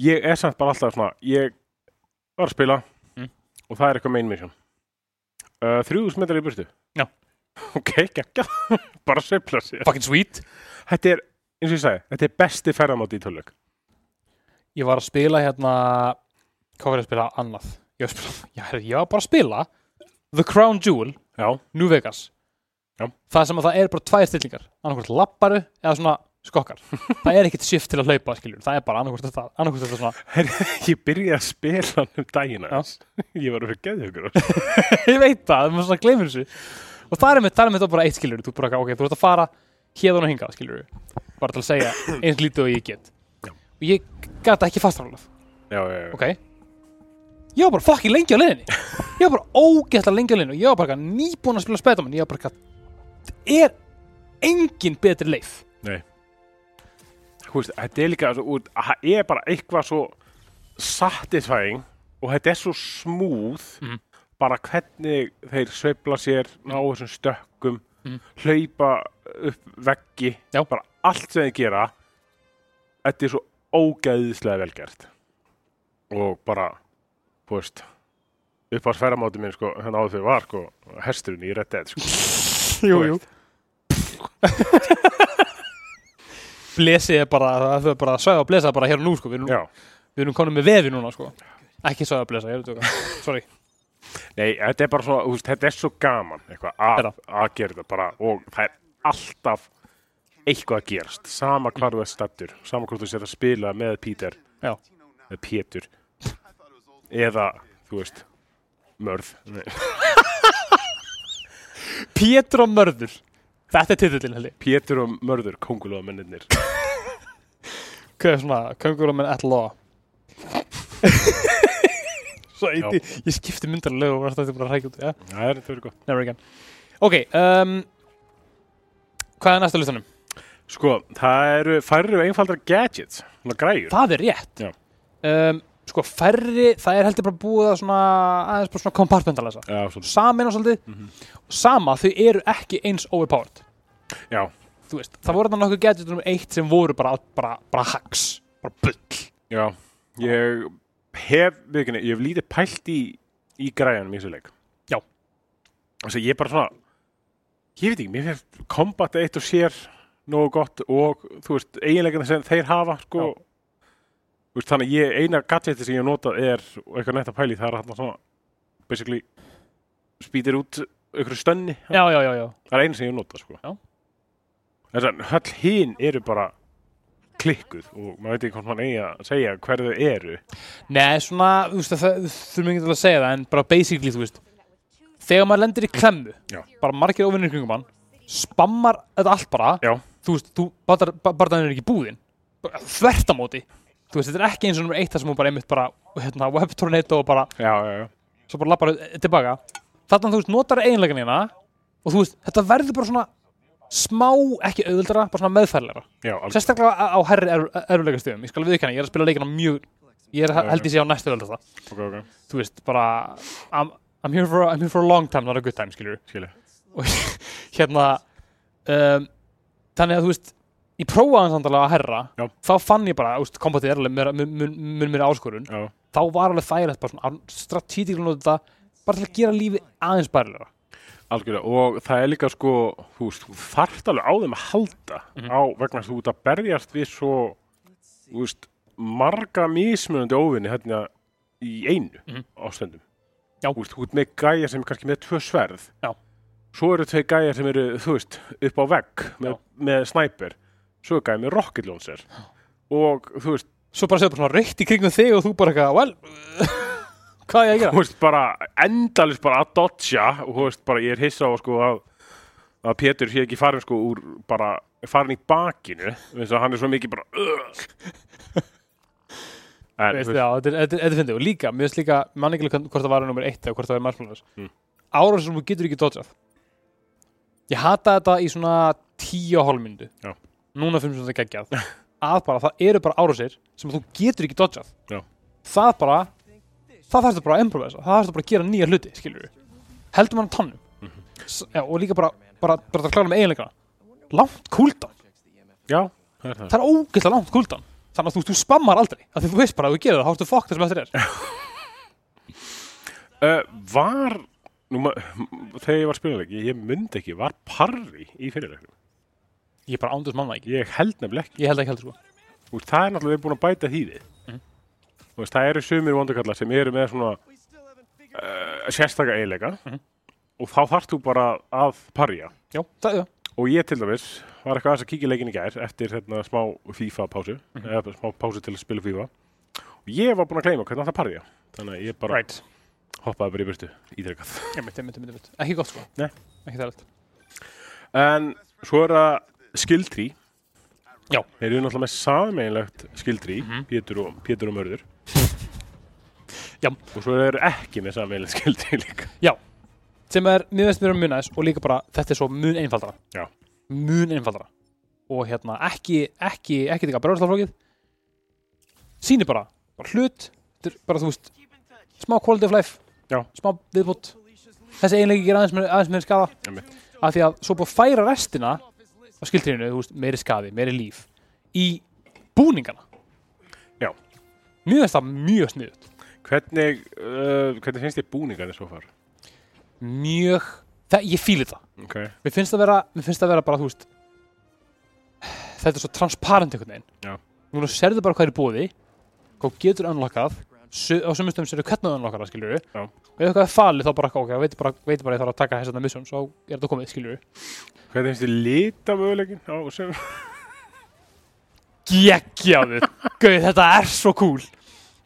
Speaker 2: ég er samt bara alltaf svona ég var að spila
Speaker 1: Mm.
Speaker 2: og það er eitthvað main mission uh, 3000 metrar í burtu
Speaker 1: Já.
Speaker 2: ok, geggja bara sveifla sér
Speaker 1: fucking sweet,
Speaker 2: þetta er, eins og ég sagði, þetta er besti ferðamátt í tölvök
Speaker 1: ég var að spila hérna hvað var ég að spila annað ég var, að spila, já, herri, ég var bara að spila The Crown Jewel,
Speaker 2: já,
Speaker 1: New Vegas
Speaker 2: Já.
Speaker 1: það sem að það er bara tvær stillingar annarkvært lapparu eða svona skokkar það er ekkit shift til að hlaupa skilur það er bara annarkvært þetta, annarkvært þetta svona
Speaker 2: ég byrjaði að spila hann um dagina
Speaker 1: Já.
Speaker 2: ég var að fyrir geðjökur
Speaker 1: ég veit það, maður svona gleymur þessu og það er með, það er með þetta bara eitt skilur þú ert bara, ok, þú ert að fara hérðan og hingað skilur bara til að segja eins lítið og ég get
Speaker 2: Já.
Speaker 1: og ég gata ekki fastrálað,
Speaker 2: já, já, já,
Speaker 1: ok ég var bara fucking lengi á leiðinni ég var bara ógeðslega lengi á leiðinni og ég var bara eitthvað nýbúinn að spila spætamann ég var bara, eitthvað, það er engin betri leið
Speaker 2: Nei Þú veist, þetta er líka svo, út, það er bara eitthvað svo satisfying og þetta er svo smúð
Speaker 1: Mhm.
Speaker 2: bara hvernig þeir sveifla sér ná þessum stökkum
Speaker 1: Mhm.
Speaker 2: hlaupa upp veggi
Speaker 1: Já.
Speaker 2: bara allt sem þeir gera þetta er svo ógæðislega velgert og bara þú veist upp á sverramáti minn sko, hérna áður fyrir var sko, hesturinn í Red Dead sko.
Speaker 1: jú, jú blesið er bara, það er bara sögða og blesað bara hér og nú sko, við erum
Speaker 2: Já.
Speaker 1: Við erum komin með vefi núna sko Ekki svo að blessa, ég er að tjóka Sorry,
Speaker 2: Nei, þetta er bara svo, þú veist, þetta er svo gaman eitthvað að,
Speaker 1: Þetta.
Speaker 2: að gera þetta bara og það er alltaf eitthvað að gerast, sama hvar þú er stattur sama hvort þú sér að spila með Peter
Speaker 1: já
Speaker 2: með Pétur eða, þú veist mörð Nei,
Speaker 1: Pétur og mörður Þetta er titillin held ég
Speaker 2: Pétur og mörður, kongulega mennirnir
Speaker 1: Hvað er svona, köngurumenn at law Svo
Speaker 2: Já.
Speaker 1: eiti, ég skipti myndarlega og var þetta bara að rækja út ja?
Speaker 2: það er þetta verið gott
Speaker 1: Never again Ok, um, hvað er næsta listanum?
Speaker 2: Sko, það eru færri og einfaldra gadgets svona græjur
Speaker 1: Það er rétt
Speaker 2: Já.
Speaker 1: um, Sko færri, það er heldur bara búið að svona aðeins bara svona kompartmentalasa
Speaker 2: Já, svona,
Speaker 1: Samin og svolítið og sama, þau eru ekki eins overpowered
Speaker 2: já,
Speaker 1: þú veist, það voru þarna nokkuð gadget um eitt sem voru bara, bara, bara hacks bara bull
Speaker 2: já ég hef, viðkynni, ég hef lítið pælt í í græjanum í þessu leik
Speaker 1: já,
Speaker 2: Þess að ég er bara svona Ég veit ekki, mér finnst kombat eitt og sér nógu gott og þú veist, eiginlega sem þeir hafa sko
Speaker 1: Já.
Speaker 2: Þú veist, þannig að ég, eina gadgeti sem ég hef notað er og eitthvað netta pæli, það er hann svona basically spýtir út einhverju stönni,
Speaker 1: já, já, já, já.
Speaker 2: það er eina sem ég hef notað sko
Speaker 1: Já.
Speaker 2: Þess að höll hinn eru bara klikkuð og maður veit ekki hvort mann eigi að segja hver þau eru
Speaker 1: Nei, svona, þú veist, það það þurfum ekki til að segja það en bara basically, þú veist þegar maður lendir í klemmu
Speaker 2: Já.
Speaker 1: bara margir óvinnir kringum hann spammar þetta allt bara
Speaker 2: Já,
Speaker 1: þú veist, þú, bara það er ekki búðin Bara þvert á móti þú veist, þetta er ekki eins og nummer eitt það sem hún bara einmitt bara hérna, webtornado og bara
Speaker 2: já, já, já
Speaker 1: svo bara lappar tilbaka þarna þú veist, notar eiginlegan hérna og þú veist, þetta verður bara svona smá, ekki auðvöldara, bara svona meðfæðlega
Speaker 2: Já, alveg.
Speaker 1: sérstaklega á- á herri erfuleika stöðum ég skal við ég er að spila leikina mjög ég er, held ég sé á næstu öll þetta
Speaker 2: ok, ok,
Speaker 1: þú veist, bara I'm, I'm, here for, a- I'm here for a long time, not a good time, skilur
Speaker 2: skilja
Speaker 1: og hérna um, þannig að þú veist ég prófaði samt alveg að herra
Speaker 2: Já.
Speaker 1: þá fann ég bara, þú veist, kombatið er alveg mér- mun- mun mun mér áskorun
Speaker 2: Já,
Speaker 1: þá var alveg þægilegt bara svona strategíkla nota þetta bara til að gera lífi aðeins bærilega
Speaker 2: Algjörlega, og það er líka sko, þú veist, þú þarft alveg á þeim að halda
Speaker 1: Mhm.
Speaker 2: á vegna þess að þú ert að berjast við svo, þú veist, marga mismunandi óvinni hérna í einu
Speaker 1: Mhm.
Speaker 2: ástendum.
Speaker 1: Já.
Speaker 2: Þú veist, þú ert með gæja sem er kannski með tvö sverð.
Speaker 1: Já.
Speaker 2: svo eru tvei gæjar sem eru, þú veist, upp á vegg með, með snæper, svo er gæjar með rocket launcher og þú veist,
Speaker 1: Svo bara séu bara svona reykt í kringum þig og þú bara eitthvað, well, hvað er ég að
Speaker 2: þú
Speaker 1: gera?
Speaker 2: veist bara endalist bara að dodja og þú veist bara ég er hissa á sko að að Pétur sé ekki farin sko úr bara farin í bakinu, þess að hann er svo mikið bara "Ugh." en,
Speaker 1: Veist,
Speaker 2: þú
Speaker 1: já, þetta er- þetta er- þetta er fyndið og líka, mér finnst líka manningilega hvort það var nummer eitt eða hvort það var margsmálunars
Speaker 2: Mm.
Speaker 1: mm. ára sem þú getur ekki dodgjað ég hata þetta í svona tíu og hálfmyndu
Speaker 2: Já.
Speaker 1: núna finnst þetta geggjað að bara, það eru bara árásir sem þú getur ekki dodgjað
Speaker 2: Já.
Speaker 1: það bara það þarfst bara að improvisa, það þarfst bara að gera nýja hluti skilur við, heldur mann tannum
Speaker 2: Mhm.
Speaker 1: S já, og líka bara, bara, bara að klára með eiginleika langt kúldan
Speaker 2: já, það er það
Speaker 1: það er ógeðslega langt kuldan þannig að þú, þú spammar aldrei af því þú veist bara að þú gerir það, þá ertu fokk það sem eftir er
Speaker 2: Uh, var, nú, ma- m- þegar ég var spilinleiki, ég myndi ekki, var parri í fyrirleikum.
Speaker 1: ég bara ándur manna ekki,
Speaker 2: Ég held nefnilega ekki.
Speaker 1: ég held ekki heldur sko
Speaker 2: Þú veist, það er náttúrulega við búin að bæta því við. Þú veist, það eru sumir vondukallar sem eru með svona uh, sérstaka eiginleika og þá þarft þú bara að parja.
Speaker 1: já, það, já.
Speaker 2: Og ég til dæmis var eitthvað aðeins að kíkja í leikin í gær eftir hérna, smá FIFA-pásu, eða smá pásu til að spila FIFA. Og ég var búin að gleyma hvernig það parja. Þannig að ég bara
Speaker 1: right
Speaker 2: hoppaði bara í burtu, ítrekkað.
Speaker 1: einmitt, einmitt, einmitt, einmitt. ekki gott sko
Speaker 2: Nei.
Speaker 1: ekki það allt
Speaker 2: En svo er það skildrí.
Speaker 1: Já. Mhm.
Speaker 2: Þeir eru náttúrulega með sameinlegt skildrí, Pétur, og, Pétur og Mörður.
Speaker 1: Já.
Speaker 2: Og svo eru þeir ekki með sameinlegt skildrí líka.
Speaker 1: sem er, mér veist mér um munæðis og líka bara þetta er svo mun einfaldara
Speaker 2: Já.
Speaker 1: mun einfaldara og hérna, ekki, ekki, ekki þetta brjóðslaflókið sýnir bara, bara hlut þetta er bara, þú veist, smá quality of life
Speaker 2: Já.
Speaker 1: smá viðbútt þessi eiginlega gerir aðeins, meiri- aðeins meiri skada
Speaker 2: Einmitt.
Speaker 1: af því að svo búið að færa restina á skiltrínu, þú veist, meiri skadi, meiri líf í búningana
Speaker 2: Já.
Speaker 1: mjög veist það mjög sniðut
Speaker 2: Hvernig, uh, hvernig finnst þér búningarnir svo far?
Speaker 1: mjög, það, ég fíli það
Speaker 2: Ok.
Speaker 1: mér finnst það vera, mér finnst það vera bara, þú veist þetta er svo transparent einhvern veginn
Speaker 2: Já.
Speaker 1: núna serðu bara hvað er í bóði hvað þú getur unlockað su- á sömum stöðum serðu hvernig þú unlockar það, skilur
Speaker 2: Já.
Speaker 1: og ef eitthvað er falið þá bara, ok, veitir bara, veitir bara að ég þarf að taka þess að mission, svo er þetta komið, skilur
Speaker 2: Hvernig finnst þér litamöguleikin á sem?
Speaker 1: geggjaður Gauð, þetta er svo cool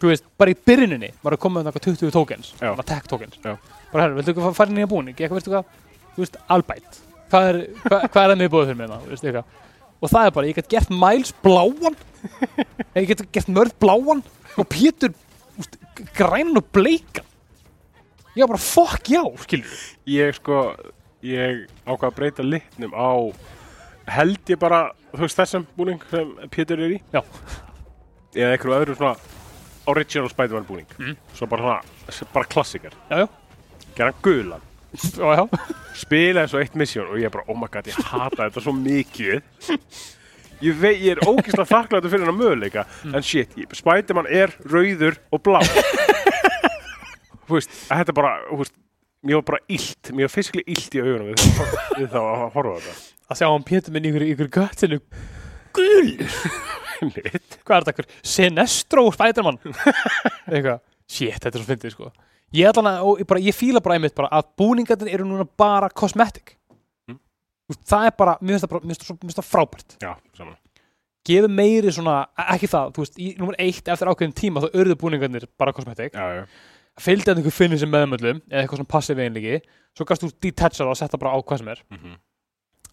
Speaker 1: Þú veist, bara í byrjuninni maður er komið með eitthvað 20 tokens
Speaker 2: Já.
Speaker 1: svona tech tokens
Speaker 2: Já.
Speaker 1: bara herru, viltu ekki fara nýja búning eitthvað, veistu hvað, þú veist, albætt hvað er, hva, hvað er það miðbúið fyrir mig það, veistu eitthvað og það er bara, ég get gert Miles bláan ég get gert mörð bláan og Pétur úst, grænan og bleikan ég var bara, fuck já, skilur
Speaker 2: Ég sko, ég ákvað að breyta litnum á held ég bara, þú veist þessum búning sem Pétur er í.
Speaker 1: já,
Speaker 2: Eða einhverju öðru svona original Spider-Man búning. Mm. Svo bara svona, bara klassikar.
Speaker 1: já, já,
Speaker 2: Gerða gulan.
Speaker 1: já, já.
Speaker 2: spilaði svo eitt misjón og ég bara, oh my god, ég hata þetta svo mikið ég, vei, ég er ógeðslega þakklæður fyrir hennar möguleika en shit, ég- Spiderman er rauður og blá þú veist, að þetta bara þú veist, mér var bara illt, mér var fiskli illt í augunum við, við þá að horfa á þetta
Speaker 1: að sjá hann Pétur minn í ykkur, ykkur göttinu gul
Speaker 2: Lit.
Speaker 1: hvað er þetta ekkur, Sinestro og Spiderman eitthvað, shit, þetta er svo fyndið sko ég ætla hana, og ég, bara, ég fíla bara einmitt bara að búningarnir eru núna bara cosmetic
Speaker 2: Mm.
Speaker 1: Þú veist, það er bara, mér finnst það bara mér finnst það svo- mér finnst það frábært,
Speaker 2: já, saman
Speaker 1: gefi meiri svona e- ekki það, þú veist, í nummer eitt eftir ákveðin tíma þá örðu búningarnir bara cosmetic
Speaker 2: já, já.
Speaker 1: fylgdi hann einhver finnum sem meðmöllum eða eitthvað svona passiv einlíki, svo gafst þú detacha það og setja bara á hvað sem er
Speaker 2: Mm -hmm.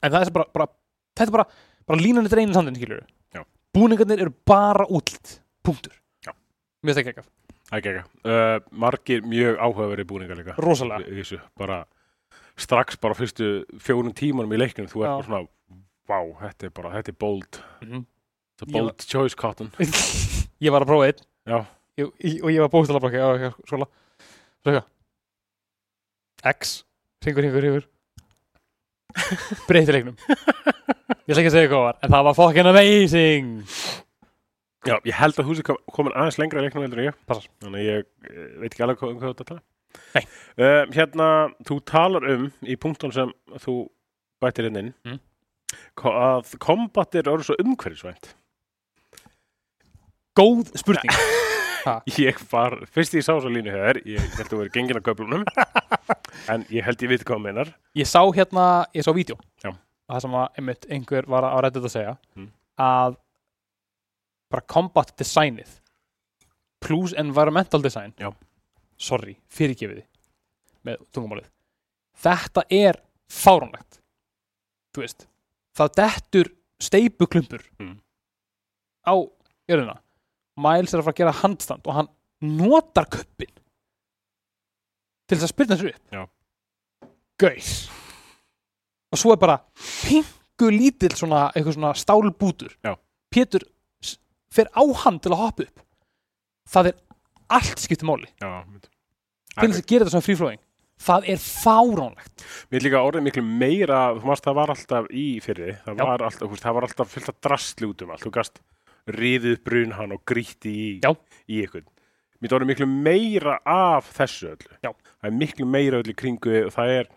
Speaker 1: en það er svo bara, bara þetta er bara, bara línan þetta einu sandin, skilur
Speaker 2: Já.
Speaker 1: búningarnir eru bara útlitt punktur
Speaker 2: Já.
Speaker 1: mér finnst það ekki
Speaker 2: ekki, ekki uh, margir mjög áhugaveri búningar líka
Speaker 1: Rosalega.
Speaker 2: Í- í þessu, bara strax bara á fyrstu fjórun tímanum í leiknum þú ert
Speaker 1: Já.
Speaker 2: bara svona, vá, þetta er bara þetta er bold,
Speaker 1: Mhm.
Speaker 2: þetta
Speaker 1: Ég
Speaker 2: er bold choice cotton
Speaker 1: ég var að prófa einn
Speaker 2: Já.
Speaker 1: ég, ég, og ég var bókstala bara ekki á skóla svo eitthvað X ringur, ringur, ringur breyti leiknum ég ætla ekki að segja hvað var en það var fucking amazing
Speaker 2: Já, ég held að þú sé komin aðeins lengra í leiknum heldur en ég
Speaker 1: Passar.
Speaker 2: þannig að ég eh, veit ekki alveg hvað, um hvað þetta tala
Speaker 1: Nei.
Speaker 2: uh, Hérna, þú talar um í punktum sem þú bættir hérna inn inn
Speaker 1: Mm.
Speaker 2: ko- að kombatir eru svo umhverfisvænt
Speaker 1: góð spurning
Speaker 2: Ég var, fyrst ég sá svo línu hér ég held að vera gengin að köflunum en ég held ég veit hvað hún meinar
Speaker 1: ég sá hérna, ég sá vídeo
Speaker 2: Já.
Speaker 1: og það sem að einmitt einhver var að redda þetta að segja
Speaker 2: Mm.
Speaker 1: að bara combat designið plus environmental design
Speaker 2: Já.
Speaker 1: sorry, fyrirgefiði með tungumálið þetta er fáránlegt þú veist, það dettur steipuklumpur
Speaker 2: Mm.
Speaker 1: á jörðina Miles er að fara að gera handstand og hann notar kuppin til þess að spyrna þessu upp
Speaker 2: Já.
Speaker 1: Gauð og svo er bara pingu lítill svona, eitthvað svona stálbútur
Speaker 2: Já.
Speaker 1: Pétur s- fer á hann til að hoppa upp það er allt skipti máli
Speaker 2: já, mynd.
Speaker 1: til þess að gera þetta svona fríflóðing það er fáránlegt
Speaker 2: Mér er líka orðið miklu meira, þú mást það var alltaf í fyrri, það
Speaker 1: Já.
Speaker 2: var alltaf, þú veist, það var alltaf fyllt að drastli út um allt, þú gast riðið brun hann og gríti í,
Speaker 1: Já.
Speaker 2: í ykkur. Mér er orðið miklu meira af þessu öllu.
Speaker 1: Já.
Speaker 2: Það er miklu meira öllu í kringu þig og það er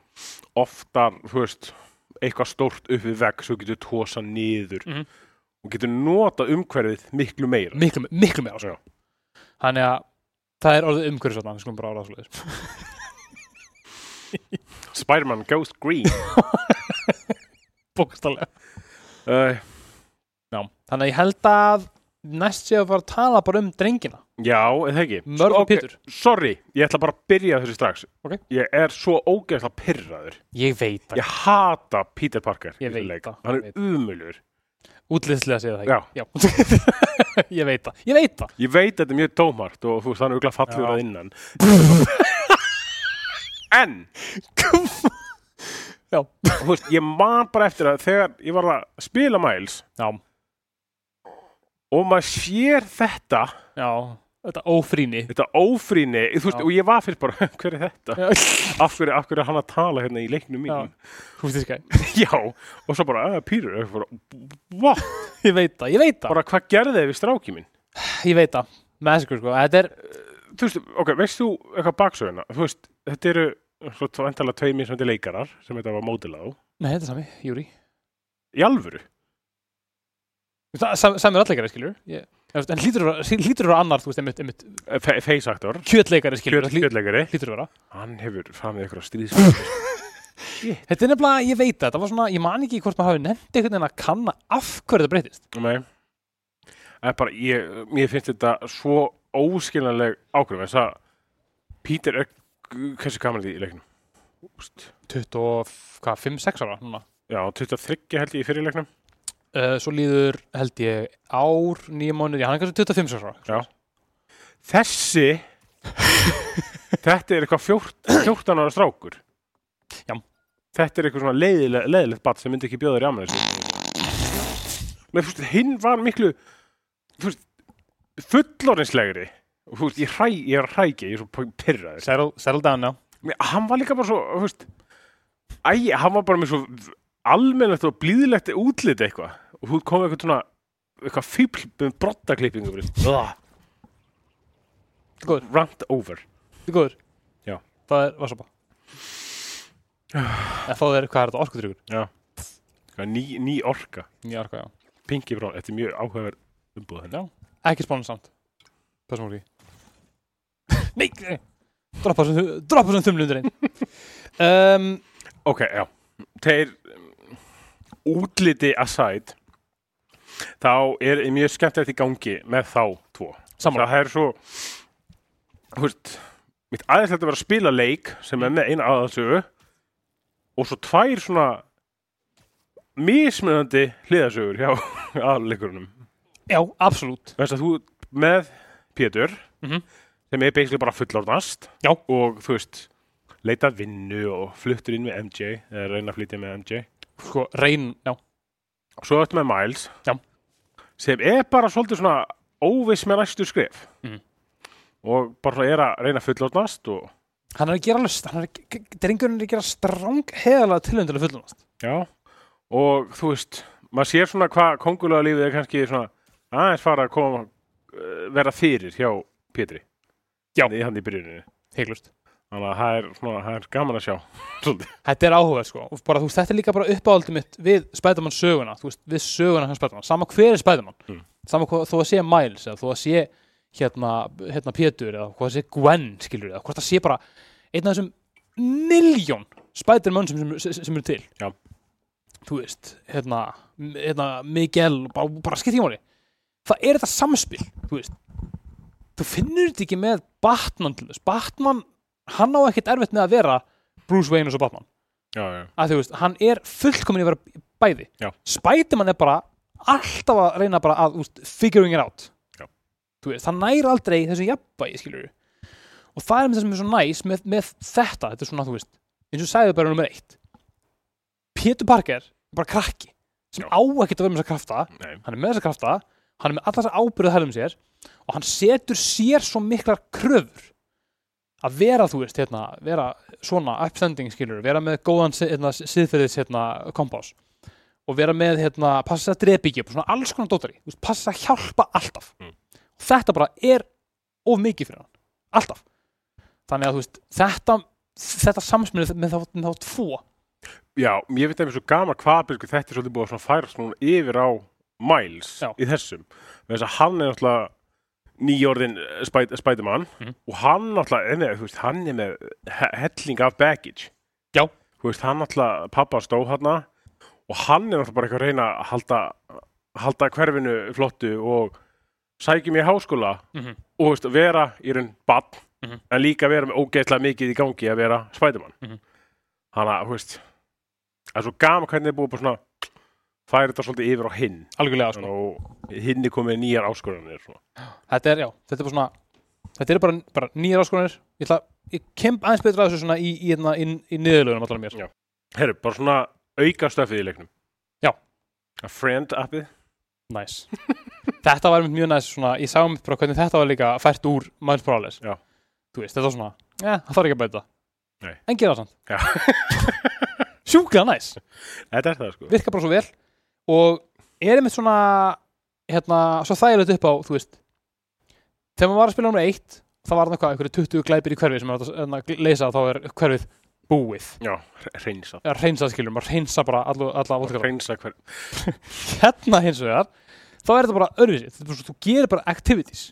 Speaker 2: oftar, þú veist, eitthvað stórt upp við vegg svo getur tósa niður
Speaker 1: Mhm.
Speaker 2: og getur nota umhverfið miklu meira.
Speaker 1: miklu, miklu meira sko.
Speaker 2: Já.
Speaker 1: þannig að það er orðið umhverfis við skulum bara ára svoleiðis Mhm.
Speaker 2: Spiderman goes green.
Speaker 1: bókstallega
Speaker 2: uh,
Speaker 1: þannig að ég held að næst sé að fara að tala bara um drengina
Speaker 2: já, eða ekki.
Speaker 1: Mörg og
Speaker 2: Ok,
Speaker 1: Pétur
Speaker 2: Sorry, ég ætla bara að byrja þessu strax.
Speaker 1: Ok.
Speaker 2: Ég er svo ógeðslega pyrraður.
Speaker 1: ég veit það,
Speaker 2: Ég hata Peter Parker. í
Speaker 1: Ég
Speaker 2: þessum
Speaker 1: veit
Speaker 2: leik.
Speaker 1: það,
Speaker 2: Hann
Speaker 1: ég
Speaker 2: er umulur.
Speaker 1: útlýðslega sé það
Speaker 2: Já.
Speaker 1: ekki Já. ég veit það, ég veit það
Speaker 2: Ég veit þetta er mjög tómart og þú veist, hann er auðvitað fallur
Speaker 1: Já.
Speaker 2: að innan. en,
Speaker 1: Já.
Speaker 2: þú veist, ég man bara eftir að þegar ég var að spila Miles
Speaker 1: Já.
Speaker 2: og maður sér þetta,
Speaker 1: Já, þetta ófrýni
Speaker 2: þetta ófrýni, þú veist,
Speaker 1: Já.
Speaker 2: og ég var fyrst bara, hver er þetta?
Speaker 1: Já.
Speaker 2: Af hverju, af hverju er hann að tala hérna í leiknum
Speaker 1: Já.
Speaker 2: mínum?
Speaker 1: Hústískæ,
Speaker 2: Já, og svo bara, uh, Peter, og ég bara, what?
Speaker 1: ég veit það, ég veit það,
Speaker 2: bara hvað gerði þið við stráki minn
Speaker 1: ég veit það Massacre sko, þetta er,
Speaker 2: þú veist, ok, veist þú eitthvað baksöguna þú veist, þetta eru svo tvæntalega tvei mismöndi leikarar sem þetta var mótilað á
Speaker 1: nei þetta er sami, Júri
Speaker 2: í alvöru,
Speaker 1: Sam, Sami er allleikari skilur ég, ég veist, En hlýtur að vera- hlýtur að vera annar, þú veist, einmitt, einmitt
Speaker 2: Eh, fe- face actor
Speaker 1: Kjötleikari skilur,
Speaker 2: kjöt-
Speaker 1: það hlý-
Speaker 2: kjötleikari,
Speaker 1: hlýtur að vera
Speaker 2: hann hefur framið eitthvað stríðsfæður
Speaker 1: Þetta er nefnilega, ég veit það, þetta var svona, ég man ekki hvort maður hafi nefnt einhvern veginn að kanna af hverju þetta breytist
Speaker 2: það er Eh, bara, ég, mér finnst þetta svo óskiljanleg ákveð þess að Peter er hversu gaman er því í leiknum Úst.
Speaker 1: 25-6 ára núna
Speaker 2: já, 23 held ég í fyrir leiknum
Speaker 1: uh, Svo líður, held ég, ár, nýja mánuð, já, hann er kannski 25 ára
Speaker 2: þessi þetta er eitthvað 14, 14 ára strákur
Speaker 1: Já.
Speaker 2: þetta er eitthvað svona leiðilegt, leiðilegt bat sem myndi ekki bjóða þér í afmæli með fúst, hinn var miklu fúst, fullorinslegri og fúst, ég, hræ, ég er að hrækja ég er svo pyrraður
Speaker 1: Settle, settle down now
Speaker 2: Mér- hann var líka bara svo fúst, æ, hann var bara með svo almennlegt og blíðlegt útlit eitthvað og þú kom eitthvað svona eitthvað fíbl með brottaklippingu
Speaker 1: Góður.
Speaker 2: rant over
Speaker 1: Þetta er góður
Speaker 2: Já.
Speaker 1: Það er vassopa Það fá þér, hvað er þetta, orkutryggur?
Speaker 2: Hvað, ný, ný orka,
Speaker 1: Já, orka, já
Speaker 2: Pinky Brown, þetta er mjög áhugaverð umbúð henni.
Speaker 1: Ekki spána samt Passum úr því Nei, nei Droppa sem, droppa sem þumlu undir einn um,
Speaker 2: Ok, já. Þeir um, útliti aside, þá er mjög skemmtilegt í gangi með þá tvo.
Speaker 1: Sammála.
Speaker 2: Það er svo, þú veist, mitt aðeinslegt að vera að spila leik sem er með eina aðalsögu og svo tvær svona mismunandi hliðasögur hjá aðalleikurunum.
Speaker 1: Já, absolút
Speaker 2: Þess að þú með Pétur
Speaker 1: Mhm.
Speaker 2: sem er basically bara fullorðnast
Speaker 1: Já.
Speaker 2: og þú veist leita að vinnu og fluttur inn með MJ eða reyna að flytja með MJ
Speaker 1: Sko, reyn, já
Speaker 2: svo öll með Miles
Speaker 1: Já.
Speaker 2: sem er bara svolítið svona óviss með næstu skrif
Speaker 1: Mhm.
Speaker 2: og bara svona er að reyna að fullorðnast og
Speaker 1: Hann er að gera alveg, hann er að, drengurinn er að gera stráng heðalega tilhund til að fullunast
Speaker 2: Já, og þú veist, maður sér svona hvað kongulega lífið er kannski svona aðeins fara að koma eh, vera fyrir hjá Pétri
Speaker 1: Já.
Speaker 2: í hann í byrjuninu
Speaker 1: Heiklust
Speaker 2: Þannig að það er, svona, það er gaman að sjá Svolítið.
Speaker 1: Þetta er áhugað sko og bara, þú veist, þetta er líka bara uppáhaldið mitt við Spiderman söguna, þú veist, við söguna hans Spiderman, sama hver er Spiderman
Speaker 2: Mm.
Speaker 1: sama hvað, þó að sé Miles eða þó að sé hérna, hérna Pétur eða hvað að sé Gwen skilur eða hvort það sé bara einn af þessum miljón Spider-Man sem, sem, sem eru til
Speaker 2: Já.
Speaker 1: þú veist, hérna, m- hérna Miguel, bara, bara skipt í máli það er þetta samspil þú veist, þú finnur þetta ekki með Batman til þess, Batman hann á ekkert erfitt með að vera Bruce Wayne og svo Batman,
Speaker 2: já, já,
Speaker 1: að þú veist, hann er fullkomin í að vera bæði,
Speaker 2: Já.
Speaker 1: Spider-Man er bara alltaf að reyna bara að úst, figuring it out
Speaker 2: Já.
Speaker 1: þú veist, það næri aldrei þessu jafnvægi, skilur og það er með það sem er svo næs með, með þetta, þetta er svona, þú veist eins og sagði bara nummer eitt Peter Parker er bara krakki sem
Speaker 2: Já.
Speaker 1: á ekkert að vera með þessa krafta
Speaker 2: nei,
Speaker 1: hann er með þessa krafta, hann er með allar þessa ábyrðu herðum um sér og hann setur sér svo miklar kröfur að vera, þú veist, hérna, vera svona upstanding skilur, vera með góðan si- hérna, siðferðis hérna, kompás og vera með, hérna, passa að drepa ekki upp og svona alls konar dótari, þú veist, passa að hjálpa alltaf
Speaker 2: Mm.
Speaker 1: þetta bara er of mikið fyrir hann alltaf, þannig að þú veist þetta, þetta samsminu með þá, með þá tvo
Speaker 2: já, ég veit að mér svo gaman hvað byrgu þetta er svolítið búið að svona færast núna yfir á Miles
Speaker 1: Já.
Speaker 2: í þessum með þess að hann er náttúrulega nýjórðin Spider- Spider-Man
Speaker 1: Mhm.
Speaker 2: og hann náttúrulega, nei, þú veist, hann er með he- helling af baggage
Speaker 1: Já.
Speaker 2: þú veist, hann náttúrulega, pappa stóð hana og hann er náttúrulega bara eitthvað að reyna að halda, halda hverfinu flottu og sækjum í háskóla
Speaker 1: mm -hmm.
Speaker 2: og þú veist, vera í raun bann
Speaker 1: Mhm.
Speaker 2: en líka vera með ógeðslega mikið í gangi að vera Spiderman
Speaker 1: Mhm.
Speaker 2: þannig að, þú veist það er svo gaman hvernig er búið bara svona færi þetta svolítið yfir á hinn
Speaker 1: algjörlega sko.
Speaker 2: Svona og hinn er komið nýjar áskoranir svona.
Speaker 1: þetta er, já, þetta er bara svona þetta er bara, bara nýjar áskonir ég, ætla, ég kem aðeins betur að þessu svona í, í, hérna- í, í niðurlögunum allar mér
Speaker 2: Já. herru, bara svona auka stöfið í leiknum
Speaker 1: Já.
Speaker 2: a friend appið
Speaker 1: næs þetta var einmitt mjög næs svona, ég sá mér bara hvernig þetta var líka fært úr Miles Morales
Speaker 2: Já.
Speaker 1: þú veist, þetta var svona, ja, það þarf ekki að bæta
Speaker 2: Nei.
Speaker 1: en gera það
Speaker 2: Já.
Speaker 1: samt sjúklega næs,
Speaker 2: þetta er það sko
Speaker 1: virka bara svo vel og er einmitt svona hérna, svo þægilegt upp á þú veist, þegar maður var að spila nummer eitt það var þannig hvað, einhverju 20 glæpir í hverfi sem maður átti að hérna, leysa þá er hverfið búið
Speaker 2: já, hre- hreinsa
Speaker 1: að reynsa skilur, maður reynsa bara alla, alla vodkana.
Speaker 2: hreinsa hver
Speaker 1: Hérna hins vegar, þá er þetta bara öðruvísi, þetta er bara svo, þú gerir bara activities,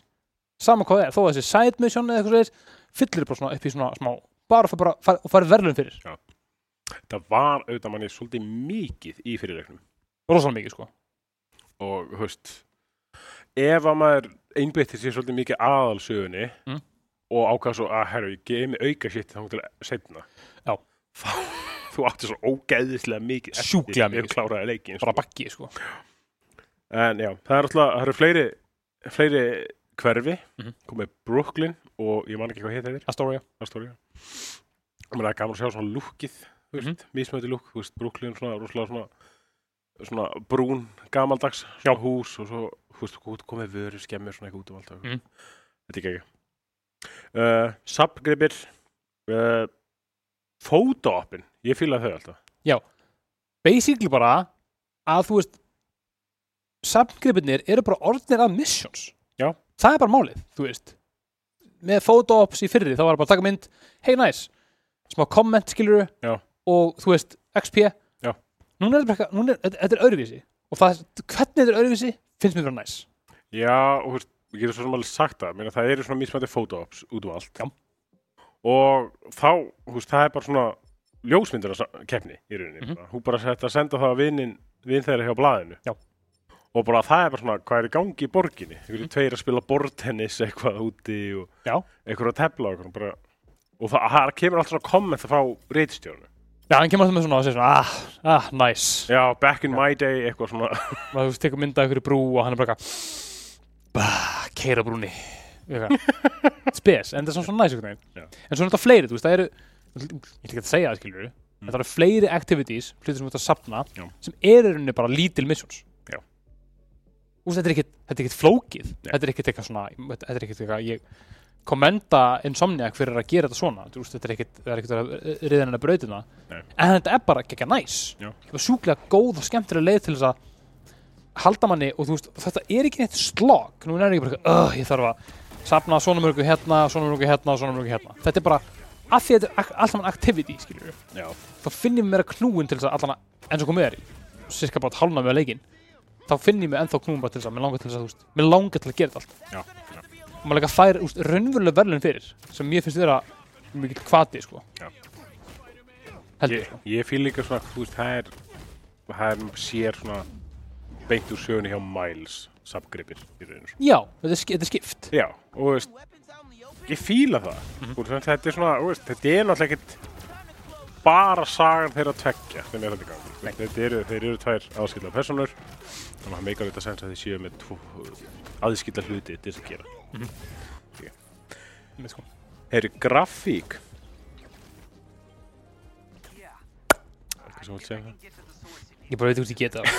Speaker 1: sama hvað það er, þó að þessi side mission eða eitthvað svoleiðis, fyllir bara svona upp í svona smá, bara og bara, fær, og fær verðlun fyrir,
Speaker 2: það var auðvitað manni svolítið mikið í fyrir leiknum
Speaker 1: rosalega mikið sko.
Speaker 2: og þú veist ef að maður einbyttir sér svolítið mikið aðalsögunni
Speaker 1: Mm.
Speaker 2: og ákvað svo að herru, ég gefi mig auka sitt þá til setna
Speaker 1: Já.
Speaker 2: þá, þú átti svo ógæðislega mikið eftir
Speaker 1: Sjúklega
Speaker 2: ef
Speaker 1: mikið, sko.
Speaker 2: kláraði leikin
Speaker 1: Bara bakki sko.
Speaker 2: en já, það er alltaf, það eru fleiri fleiri hverfi
Speaker 1: Mhm.
Speaker 2: komið Brooklyn og ég man ekki hvað heita þér
Speaker 1: Astoria.
Speaker 2: Astoria og maður er gaman að sjá svona lúkið þú veist, mm -hmm. mismöti lúk, þú veist, Brooklyn svona rosalega svona, svona brún gamaldags svona hús og svo þú veist, út komið vöru skemmir svona eitthvað út um allt og-
Speaker 1: Mhm.
Speaker 2: þetta er ekki uh, Subgripir uh, Fótóppin ég fílaði þau alltaf
Speaker 1: Basically bara að þú veist, samgripinir eru bara orðnir af missions.
Speaker 2: Já.
Speaker 1: Það er bara málið, þú veist. Með photo-ops í fyrri, þá var bara að taka mynd, hey nice, smá komment skilur
Speaker 2: Já.
Speaker 1: og þú veist, XP
Speaker 2: Já.
Speaker 1: núna er þetta bara eitthvað- núna er, þetta- þetta er öðruvísi og það, hvernig þetta er öðruvísi finnst mér bara næs
Speaker 2: já, og þú veist, ég getur svo sem alveg sagt það meina, það eru svona mismöti fótópps út um allt
Speaker 1: Já.
Speaker 2: og þá, þú veist, það er bara svona ljósmyndara keppni í rauninni
Speaker 1: Mhm.
Speaker 2: bara. hún bara sætti að senda það að vinin vin þeirra hjá blaðinu
Speaker 1: Já.
Speaker 2: og bara það er bara svona hvað er í gangi í borginni einhverju tveir að spila bortennis eitthvað úti og
Speaker 1: Mhm. Já.
Speaker 2: einhverju að tefla og, eitthvað, bara, og það, það kemur alltaf svona komment frá reitstjórnu
Speaker 1: Já, hann kemur alltaf með svona og segir svona, ah, ah, nice
Speaker 2: já, back in my day, eitthvað svona
Speaker 1: maður þú veist, tekur mynda ykkur brú og hann er bara eitthvað bah, keira brúni Eitthvað. spes, en það er svona svona næs einhvern
Speaker 2: Já.
Speaker 1: veginn en svona þetta fleiri, þú veist, það eru ég ætla ekki að segja það, skilur þetta eru fleiri activities, hlutir sem þú ert að sapna
Speaker 2: Mm. Já.
Speaker 1: sem er í rauninni bara lítil missions
Speaker 2: Já.
Speaker 1: Þú veist, þetta er ekkit, þetta er ekkit flókið þetta er ekkit eitthvað svona, þetta er ekkit eitthvað ég kommenta insomniac fyrir að gera þetta svona, þú veist, þetta er ekkit það er ekkit að riða hennar brautina
Speaker 2: Nei.
Speaker 1: en þetta er bara ekki næs
Speaker 2: Já.
Speaker 1: þetta er sjúklega góð og skemmtilega leið til þess að halda manni og þú veist, þetta er ekki neitt slokk, nú er ekki bara eitthvað, "Ugh, ég þarf að safna svona mörgu hérna, svona mörgu hérna og svona mörgu hérna, þetta er bara að því þetta er ak- allt saman activity, skiljur við
Speaker 2: já,
Speaker 1: þá finn ég mér knúin til þess að allan að eins og komið er, cirka bara hálna með leikinn þá finn ég mér ennþá knúin bara til þess að mér langar til þess að, þú veist, mér langar til að gera þetta allt
Speaker 2: já, já.
Speaker 1: og maður líka fær úst, raunveruleg verðlun fyrir sem mér finnst vera mikið kvati sko.
Speaker 2: Já.
Speaker 1: heldur
Speaker 2: Ég,
Speaker 1: sko.
Speaker 2: ég fíl líka svona, þú veist, það er, það er sér svona beint úr sögunni hjá Miles samgripin í rauninu. Sko.
Speaker 1: Já, þetta er, sk- þetta er skipt
Speaker 2: Já, og þú veist, ég fíla það. Mm -hmm. Þetta er svona, þú veist, þetta er náttúrulega ekkert bara sagan þeirra tveggja sem er þetta gangi. Þetta eru, þeir eru tvær aðskilda personur, þannig að það meikar þetta sens að þeir séu með tvo aðskilda hluti til þess að gera.
Speaker 1: Einmitt, sko.
Speaker 2: Herri, grafík. Eitthvað sem þú vilt segja um það?
Speaker 1: Ég bara veit ekki hvort ég geta það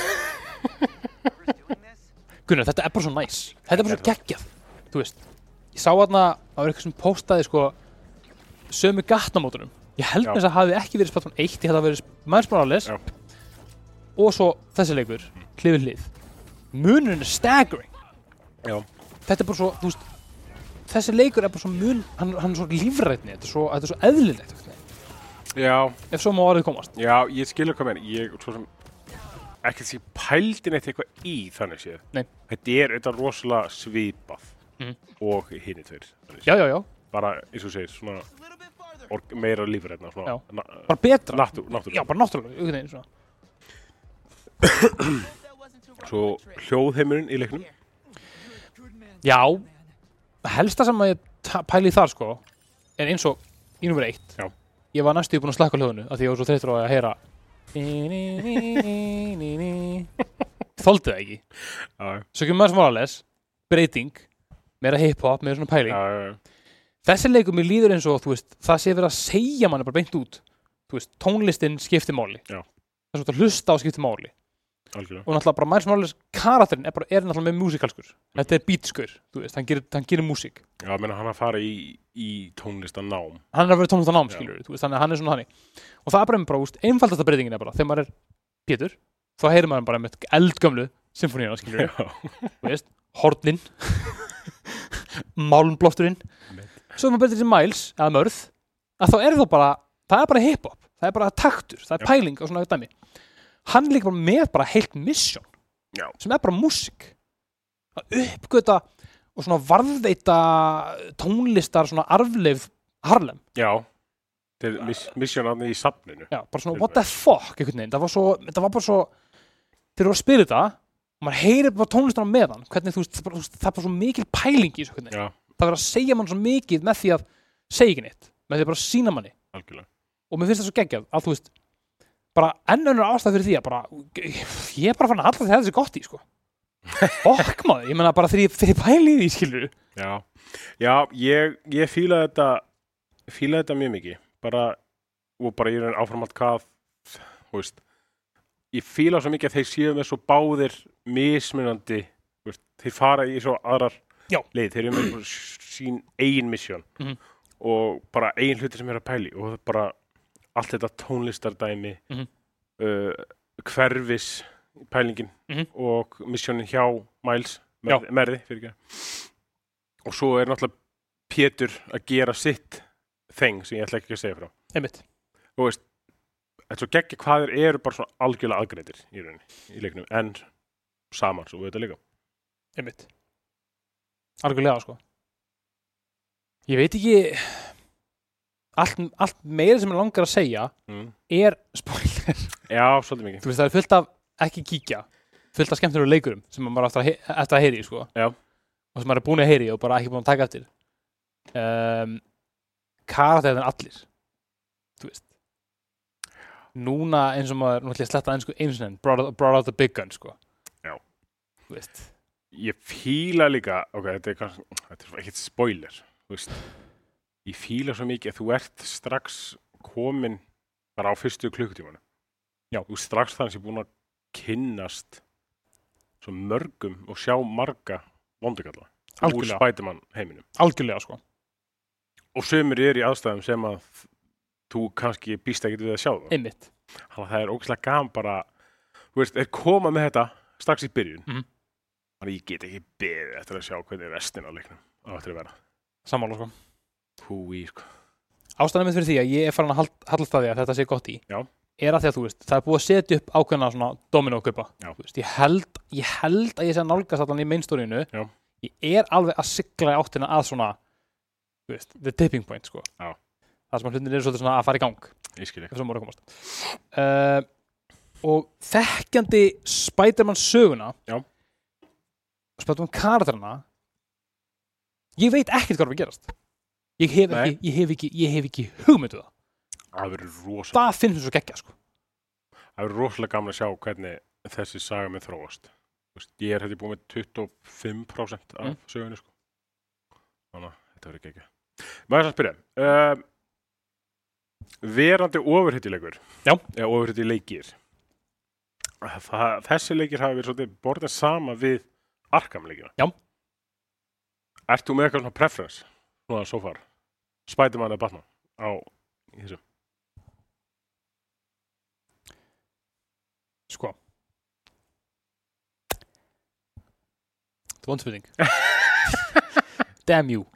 Speaker 1: Gunnar, þetta er bara svo næs Þetta er bara svo geggjað Þú veist, ég sá þarna Það var eitthvað sem postaði sko Sömu gatnamótunum Ég held
Speaker 2: Já.
Speaker 1: með þess að hafi ekki verið Splatoon 1 Ég held að verið Mænsbránulegis
Speaker 2: Já.
Speaker 1: Og svo þessi leikur, klifin hlið Munurinn er staggering
Speaker 2: Já.
Speaker 1: Þetta er bara svo, þú veist Þessi leikur er bara svo mun Hann, hann er svo lífrætni, þetta er svo, þetta er svo eðlilegt einhvern veginn.
Speaker 2: Já,
Speaker 1: Ef svo má orðið komast
Speaker 2: Já, ég skilur hvað mér, ég, svo sem, ekkert því pældin eitt eitthvað í þannig séð.
Speaker 1: Nei.
Speaker 2: Þetta er auðvitað rosalega svipað
Speaker 1: Mhm.
Speaker 2: og hinn í tveir. þannig séð.
Speaker 1: Já, já, já,
Speaker 2: Bara, eins og þú segir, svona, org, meira lífræðna, svona,
Speaker 1: Já.
Speaker 2: na,
Speaker 1: bara betra
Speaker 2: natúr, náttúr.
Speaker 1: Já, bara náttúrulega, einhvern veginn svona
Speaker 2: Svo hljóðheimurinn í leiknum.
Speaker 1: Já, helsta sem að ég ta- pæli í þar sko er eins og í nummer eitt
Speaker 2: Já.
Speaker 1: ég var næstu búinn að slakka á hljóðinu af því ég var svo þreytur á að heyra þóldi það ekki
Speaker 2: Já,
Speaker 1: svo kemur maður sem varales breyting, meira hip-hop, meira svona pæling
Speaker 2: já, já,
Speaker 1: þessi leikum mér líður eins og þú veist, það sé verið að segja manni bara beint út þú veist, tónlistin skiptir máli
Speaker 2: Já.
Speaker 1: þess að þú ert að hlusta á skiptir máli
Speaker 2: algjörlega.
Speaker 1: og náttúrulega bara Miles Morales karakterinn er, bara, er náttúrulega með músikalskur
Speaker 2: Mhm.
Speaker 1: þetta er beatskur, þú veist, hann gerir, hann gerir músík
Speaker 2: Já, ég meina hann að fara í, í tónlistan nám.
Speaker 1: hann er að vera tónlistanám,
Speaker 2: Já.
Speaker 1: skilur veist, þannig að hann er svona þannig og það er bara einmitt bara, úst, einfaldasta breytingin er bara þegar maður er Pétur, þá heyrir maður bara með eldgömlu symfóníuna, skilur
Speaker 2: Já,
Speaker 1: veist, hornin málumblótturinn svo er maður breytir sem Miles, eða mörð að þá er það bara, það er bara hip-hop það er bara taktur, það er
Speaker 2: Já.
Speaker 1: pæling og svona dæmi hann er líka bara með bara heilt mission
Speaker 2: Já.
Speaker 1: sem er bara músik að uppgöta og svona varðveita tónlistar svona arfleif Harlem
Speaker 2: já. Þeir miss, missjónarni í safninu.
Speaker 1: Já, bara svona what the fuck einhvern veginn, það var, svo, það var bara svo þegar þú var að spila þetta og maður heyrir bara tónlistina með hann hvernig þú veist, það, bara, þú veist, það er bara svo mikil pæling í þessu einhvern veginn,
Speaker 2: Já,
Speaker 1: það verður að segja mann svo mikið með því að segja ekki neitt, með því að bara sína manni
Speaker 2: algjörlega.
Speaker 1: og mér finnst það svo geggjað að þú veist bara enn önnur ástæð fyrir því að bara ég er bara fann að alltaf þetta þessi gott í sko okk maður, ég menna bara þegar ég- þegar ég pæli í því skilur
Speaker 2: Já, já ég, ég fíla þetta fíla þetta mjög mikið bara, og bara ég er áframhald hvað þú veist ég fíla svo mikið að þeir séu með svo báðir mismunandi þú veist, þeir fara í svo aðrar
Speaker 1: Já.
Speaker 2: leið, þeir eru með svo sín eigin misjón
Speaker 1: Mhm.
Speaker 2: og bara eigin hluti sem er að pæli og það er bara allt þetta tónlistardæmi
Speaker 1: Mhm.
Speaker 2: uh, hverfis pælingin
Speaker 1: Mhm.
Speaker 2: og misjónin hjá Miles
Speaker 1: Já.
Speaker 2: merði, merði fyrir ekki og svo er náttúrulega Pétur að gera sitt þeng sem ég ætla ekki að segja frá
Speaker 1: einmitt,
Speaker 2: þú veist, þetta er svo geggja hvað þeir eru bara svona algjörlega aðgreindir í rauninni í leiknum, en saman svo við þetta líka
Speaker 1: einmitt algjörlega sko ég veit ekki allt, allt meira sem ég langar að segja
Speaker 2: mm.
Speaker 1: er spoiler
Speaker 2: Já, svolítið mikið
Speaker 1: þú veist það er fullt af ekki kíkja fullt af skemmtunum leikurum sem maður á eftir að, he- eftir að heyri sko.
Speaker 2: Já.
Speaker 1: og sem maður er búin að heyri og bara ekki búin að taka eftir um, karakterðin allir þú veist núna eins og maður nú ætlum ég að sletta enn sko einu sinni enn, brought, out- brought out the big gun sko
Speaker 2: Já.
Speaker 1: þú veist
Speaker 2: Ég fíla líka, ok, þetta er, kannski, þetta er svo ekkert spoiler þú veist, ég fíla svo mikið að þú ert strax komin bara á fyrstu klukkutímanu
Speaker 1: Já.
Speaker 2: þú ert strax þannig sem búin að kynnast svo mörgum og sjá marga vondukalla úr
Speaker 1: Algjörlega.
Speaker 2: spætumann heiminum
Speaker 1: algjörlega sko
Speaker 2: og sömur er í aðstæðum sem að þú kannski býst ekkert við að sjá það
Speaker 1: einmitt
Speaker 2: þannig að það er ógæslega gaman bara þú veist, er koma með þetta strax í byrjun
Speaker 1: Mhm.
Speaker 2: þannig að ég get ekki beðið eftir að sjá hvernig restin á leiknum á eftir að vera
Speaker 1: sammála sko
Speaker 2: húi, sko
Speaker 1: ástæðan mitt fyrir því að ég er farin að hald- hallast að því að þetta sé gott í
Speaker 2: Já.
Speaker 1: er að því að þú veist það er búið að setja upp ákveðna svona dominókaupa
Speaker 2: Já.
Speaker 1: Þú veist, ég, held, ég held að ég sé að nálgast allan í meinstóriðinu
Speaker 2: Já.
Speaker 1: ég er alveg að sigla í áttina að svona þú veist, the tipping point sko.
Speaker 2: Já.
Speaker 1: það það sem að hlutin eru svolítið svona að fara í gang
Speaker 2: ég skil ekki
Speaker 1: ef svo mór að komast uh, og þekkjandi Spiderman söguna
Speaker 2: Já.
Speaker 1: Spiderman karakterina ég veit ekkert hvað er að gerast ég hef
Speaker 2: Nei.
Speaker 1: ekki, ég hef ekki, ég hef ekki hugmyndu það,
Speaker 2: það verður rosa
Speaker 1: það finnst mér svo geggja sko.
Speaker 2: það verður rosalega gaman að sjá hvernig þessi saga með þróast Þú veist, ég er hætti búin með 25% af
Speaker 1: Mm.
Speaker 2: sögunni sko þannig að þetta verður ekki ekki maður þess að spyrja um, verandi ofurhittilegur
Speaker 1: Já.
Speaker 2: eða ofurhittilegir það, þessi leikir hafa verið svolítið borðin sama við arkamleikina
Speaker 1: Já.
Speaker 2: ert þú með eitthvað svona preference svona so far Spiderman eða Batman á í þessu
Speaker 1: sko það var ondspurning damn you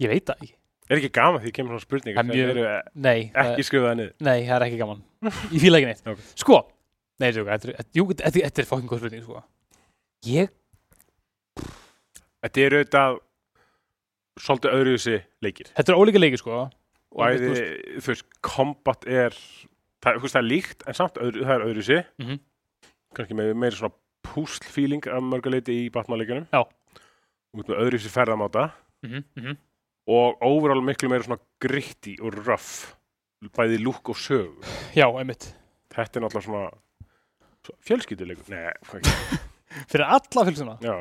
Speaker 1: ég veit það ekki
Speaker 2: Er ekki gaman því kemur svona spurningar
Speaker 1: Það er
Speaker 2: sem
Speaker 1: mjög-
Speaker 2: eru
Speaker 1: nei, eh, það-
Speaker 2: ekki skrifaða niður?
Speaker 1: Nei, það er ekki gaman Ég fíla ekki neitt
Speaker 2: Ok.
Speaker 1: Sko Nei, þetta er okkar Þetta er- jú, þetta er- þetta er fokkin góð spurning sko. Ég
Speaker 2: Þetta eru auðvitað svolítið öðruvísi leikir.
Speaker 1: Þetta er ólíka leiki sko Og
Speaker 2: Bæði,
Speaker 1: þú veist,
Speaker 2: þú veist, kombat er, það, þú veist, það er líkt, en samt öðru, það er öðruvísi.
Speaker 1: Mhm.
Speaker 2: Kannski með meira svona púslfíling af mörguleiti í Batman-leikunum.
Speaker 1: Já.
Speaker 2: Út með öðruvísi ferðamáta
Speaker 1: mhm, mhm.
Speaker 2: og overall miklu meira svona gritti og röff. Bæði lúk og sög.
Speaker 1: Já, einmitt
Speaker 2: Þetta er náttúrulega svona, svona fjölskylduleikur. Nei, hvað ekki.
Speaker 1: Fyrir alla fylgsuna
Speaker 2: Já.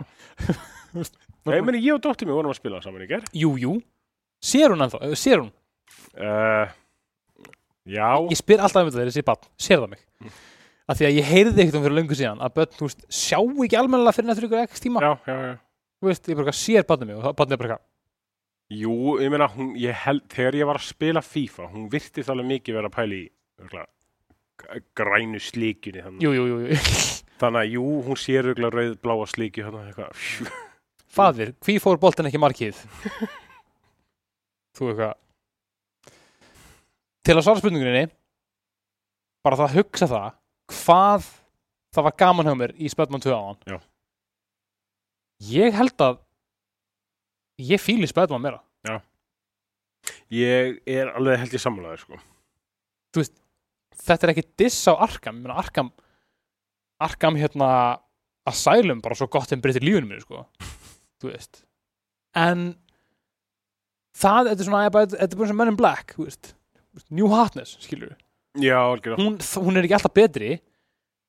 Speaker 2: Nei, ég meni, ég og dóttir mér vorum að spila saman í ger.
Speaker 1: Jú, jú Sér hún ennþá Eh, Sér hún
Speaker 2: Uh, já,
Speaker 1: Ég spyr alltaf um þetta þegar ég sé bann Sér það mig
Speaker 2: Mm.
Speaker 1: Af því að ég heyrði ekkert um fyrir löngu síðan Að börn, þú veist Sjá ekki almennilega fyrir nættur ykkur ekki tíma
Speaker 2: já, já, já.
Speaker 1: Þú veist, ég bara eitthvað sér bannum mig Og það bannum er bara eitthvað
Speaker 2: Jú, ég meina, hún, ég held, þegar ég var að spila FIFA, hún virti það alveg mikið vera að pæla í örgla, grænu slíkjunni þannig.
Speaker 1: Jú, jú, jú, jú.
Speaker 2: Þannig að jú, hún sér örgla rauð bláa slíkju hann eitthvað.
Speaker 1: Fadir, hví fór boltin ekki í markið? Þú eitthvað Til að svara spurningunni bara það að hugsa það hvað það var gaman hjá mér í Spöldmann 2 áðan
Speaker 2: Já.
Speaker 1: Ég held að ég fíli Spöldmann meira
Speaker 2: Ég er alveg held ég sammálaður, sko.
Speaker 1: Þetta er ekki diss á Arkham, ég meina Arkham Arkham hérna Asylum bara svo gott en breytir lífunum mér sko þú veist en það, þetta er svona þetta er bara eins og Men in Black, þú veist New Hotness, skilur
Speaker 2: Já, algjörða.
Speaker 1: hún, þ- hún er ekki alltaf betri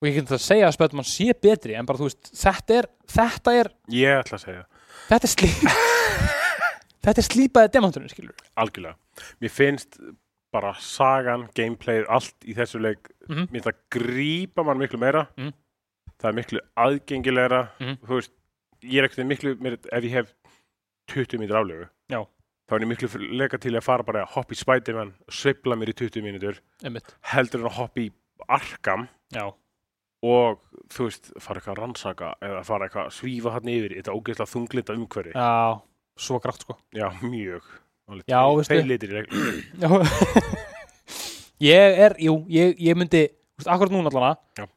Speaker 1: og ég get það að segja að spöðum mann sé betri en bara þú veist, þetta er þetta er,
Speaker 2: Ég ætla að segja,
Speaker 1: þetta er slí þetta er slípaði demanturinn, skilur
Speaker 2: algjörlega. Mér finnst bara sagan, gameplayið, allt í þessu leik,
Speaker 1: Mhm.
Speaker 2: mér finnst það grípa mann miklu meira.
Speaker 1: Mhm.
Speaker 2: Það er miklu aðgengilegra.
Speaker 1: Mhm.
Speaker 2: Þú veist, ég er ekkert miklu, meira- ef ég hef 20 mínútur aflögu,
Speaker 1: Já.
Speaker 2: þá er ég miklu leika til að fara bara að hoppa í Spiderman, sveifla mér í 20 mínútur,
Speaker 1: Einmitt.
Speaker 2: heldur en að hoppa í Arkham
Speaker 1: Já,
Speaker 2: og, þú veist, fara eitthvað að rannsaka eða fara eitthvað að svífa hann yfir, í þetta ógeðslega þunglinda umhverfi.
Speaker 1: já, svo grátt sko
Speaker 2: Já, mjög.
Speaker 1: Já, veistu.
Speaker 2: Þeir litir í reglum.
Speaker 1: Já. ég er, jú, ég, ég myndi úst, akkurat núna
Speaker 2: Já.
Speaker 1: allana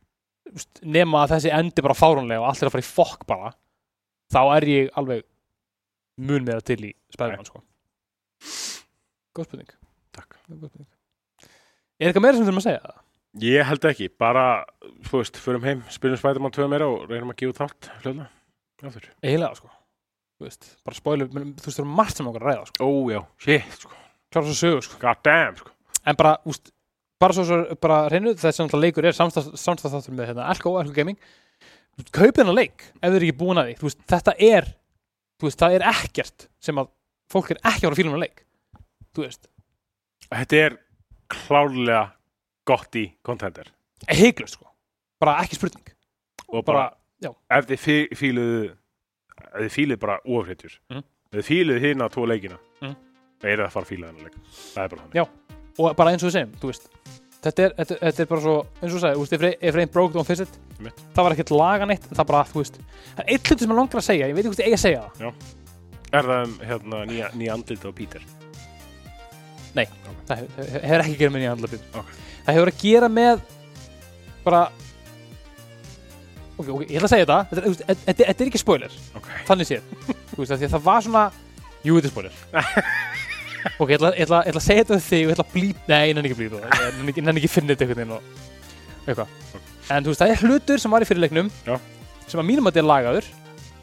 Speaker 1: úst, nema að þessi endi bara fáránlega og allt er að fara í fokk bara þá er ég alveg mun meira til í spæðumann sko góð spurning,
Speaker 2: Takk.
Speaker 1: góð spurning. er eitthvað meira sem þurfum að segja það?
Speaker 2: Ég held ekki, bara, þú veist, förum heim, spilum Spiderman 2 meira og reynum að gefa út þátt hljóðlega. Aftur.
Speaker 1: eiginlega sko Þú veist, bara spoilum, menn, þú veist, það er margt sem okkar að ræða sko.
Speaker 2: Ó, já, shit, sko.
Speaker 1: klára svo sögu sko.
Speaker 2: God damn, sko.
Speaker 1: en bara, úst, bara svo, svo bara reynu þessi náttúrulega leikur er samstæðstáttur með hérna, Elko, Elko Gaming kaupið hennar leik ef þið eru ekki búin að því þú veist, þetta er þú veist, það er ekkert sem að fólk er ekki að fara að fíla um leik þú veist,
Speaker 2: Þetta er klárlega gott í kontender.
Speaker 1: heiklust sko bara ekki spurning
Speaker 2: Og bara,
Speaker 1: bara,
Speaker 2: ef þið fí- fíluðu, ef þið fíluðu bara ofréttjur,
Speaker 1: Mhm.
Speaker 2: ef þið fíluðu hérna tvo leikina,
Speaker 1: Mhm.
Speaker 2: það er það að fara að fíla þennan leik. Það er bara þannig.
Speaker 1: Já. og bara eins og við segjum, þú veist þetta er, þetta, þetta er bara svo, eins og við segjum, þú veist, if Ray- if rain broke don't fix it
Speaker 2: Einmitt.
Speaker 1: það var ekkert lagan eitt, það bara, þú veist það er eitt hluti sem ég langar að segja, ég veit ekki hvort ég eigi að segja það
Speaker 2: Er það um, hérna, nýja, nýja andlit á Peter?
Speaker 1: það hefur hef, hef ekki gerð með nýja handlapin
Speaker 2: Ok.
Speaker 1: það hefur að gera með bara ok, ok, ég ætla að segja þetta þetta er, þú veist, þetta- þetta þetta er ekki spoiler
Speaker 2: Ok.
Speaker 1: þannig séð, þú veist, af því að það var svona jú, þetta er spoiler Ok, ég ætla, ég ætla, ég ætla að segja þetta við þig og ég ætla að blíp Nei, ég nenni ekki að blípa það Ég nenni ekki- nenni ekki að finna þetta einhvern veginn og eitthvað En þú veist, það er hlutur sem var í fyrirleiknum
Speaker 2: Já.
Speaker 1: sem að mínum að þetta er lagaður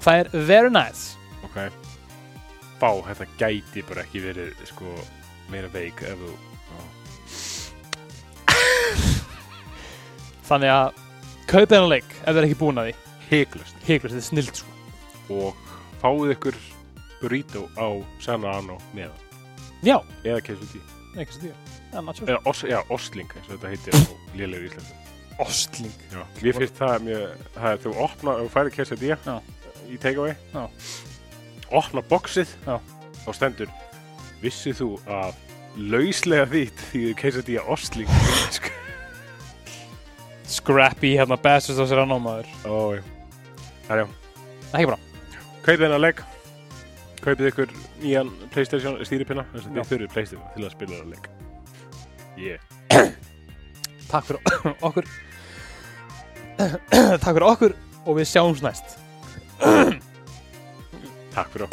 Speaker 1: Það er very nice
Speaker 2: ok Bá, þetta gæti bara ekki verið sko meira veik ef þú
Speaker 1: Þannig að kaupið hennar leik ef það er ekki búin að því
Speaker 2: heiklust
Speaker 1: Hygglust, þetta er snild sko
Speaker 2: og fáið ykkur burrito á San Ano meðan
Speaker 1: Já,
Speaker 2: eða quesadilla
Speaker 1: ekki svo því Já, nacho
Speaker 2: eða os, já, osling eins og þetta heitir á lélegur íslensku
Speaker 1: Ostling
Speaker 2: já. mér finnst það mjög það er þú opna og færi quesadilla
Speaker 1: Já.
Speaker 2: í takeaway
Speaker 1: Já.
Speaker 2: opna boxið
Speaker 1: Já.
Speaker 2: og stendur vissið þú að lauslega þitt því þú quesadilla osling er íslensku?"
Speaker 1: Scrappy, hérna, bestast á sér annar maður
Speaker 2: Ó, já. það er já
Speaker 1: Ekki bara
Speaker 2: kaupið hennar leik kaupið ykkur nýjan Playstation stýripinna þess að
Speaker 1: Já.
Speaker 2: þið þurfið Playstation til að spila hennar leik yeah
Speaker 1: Takk fyrir okkur Takk fyrir okkur og við sjáumst næst
Speaker 2: takk fyrir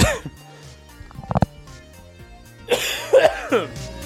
Speaker 2: okkur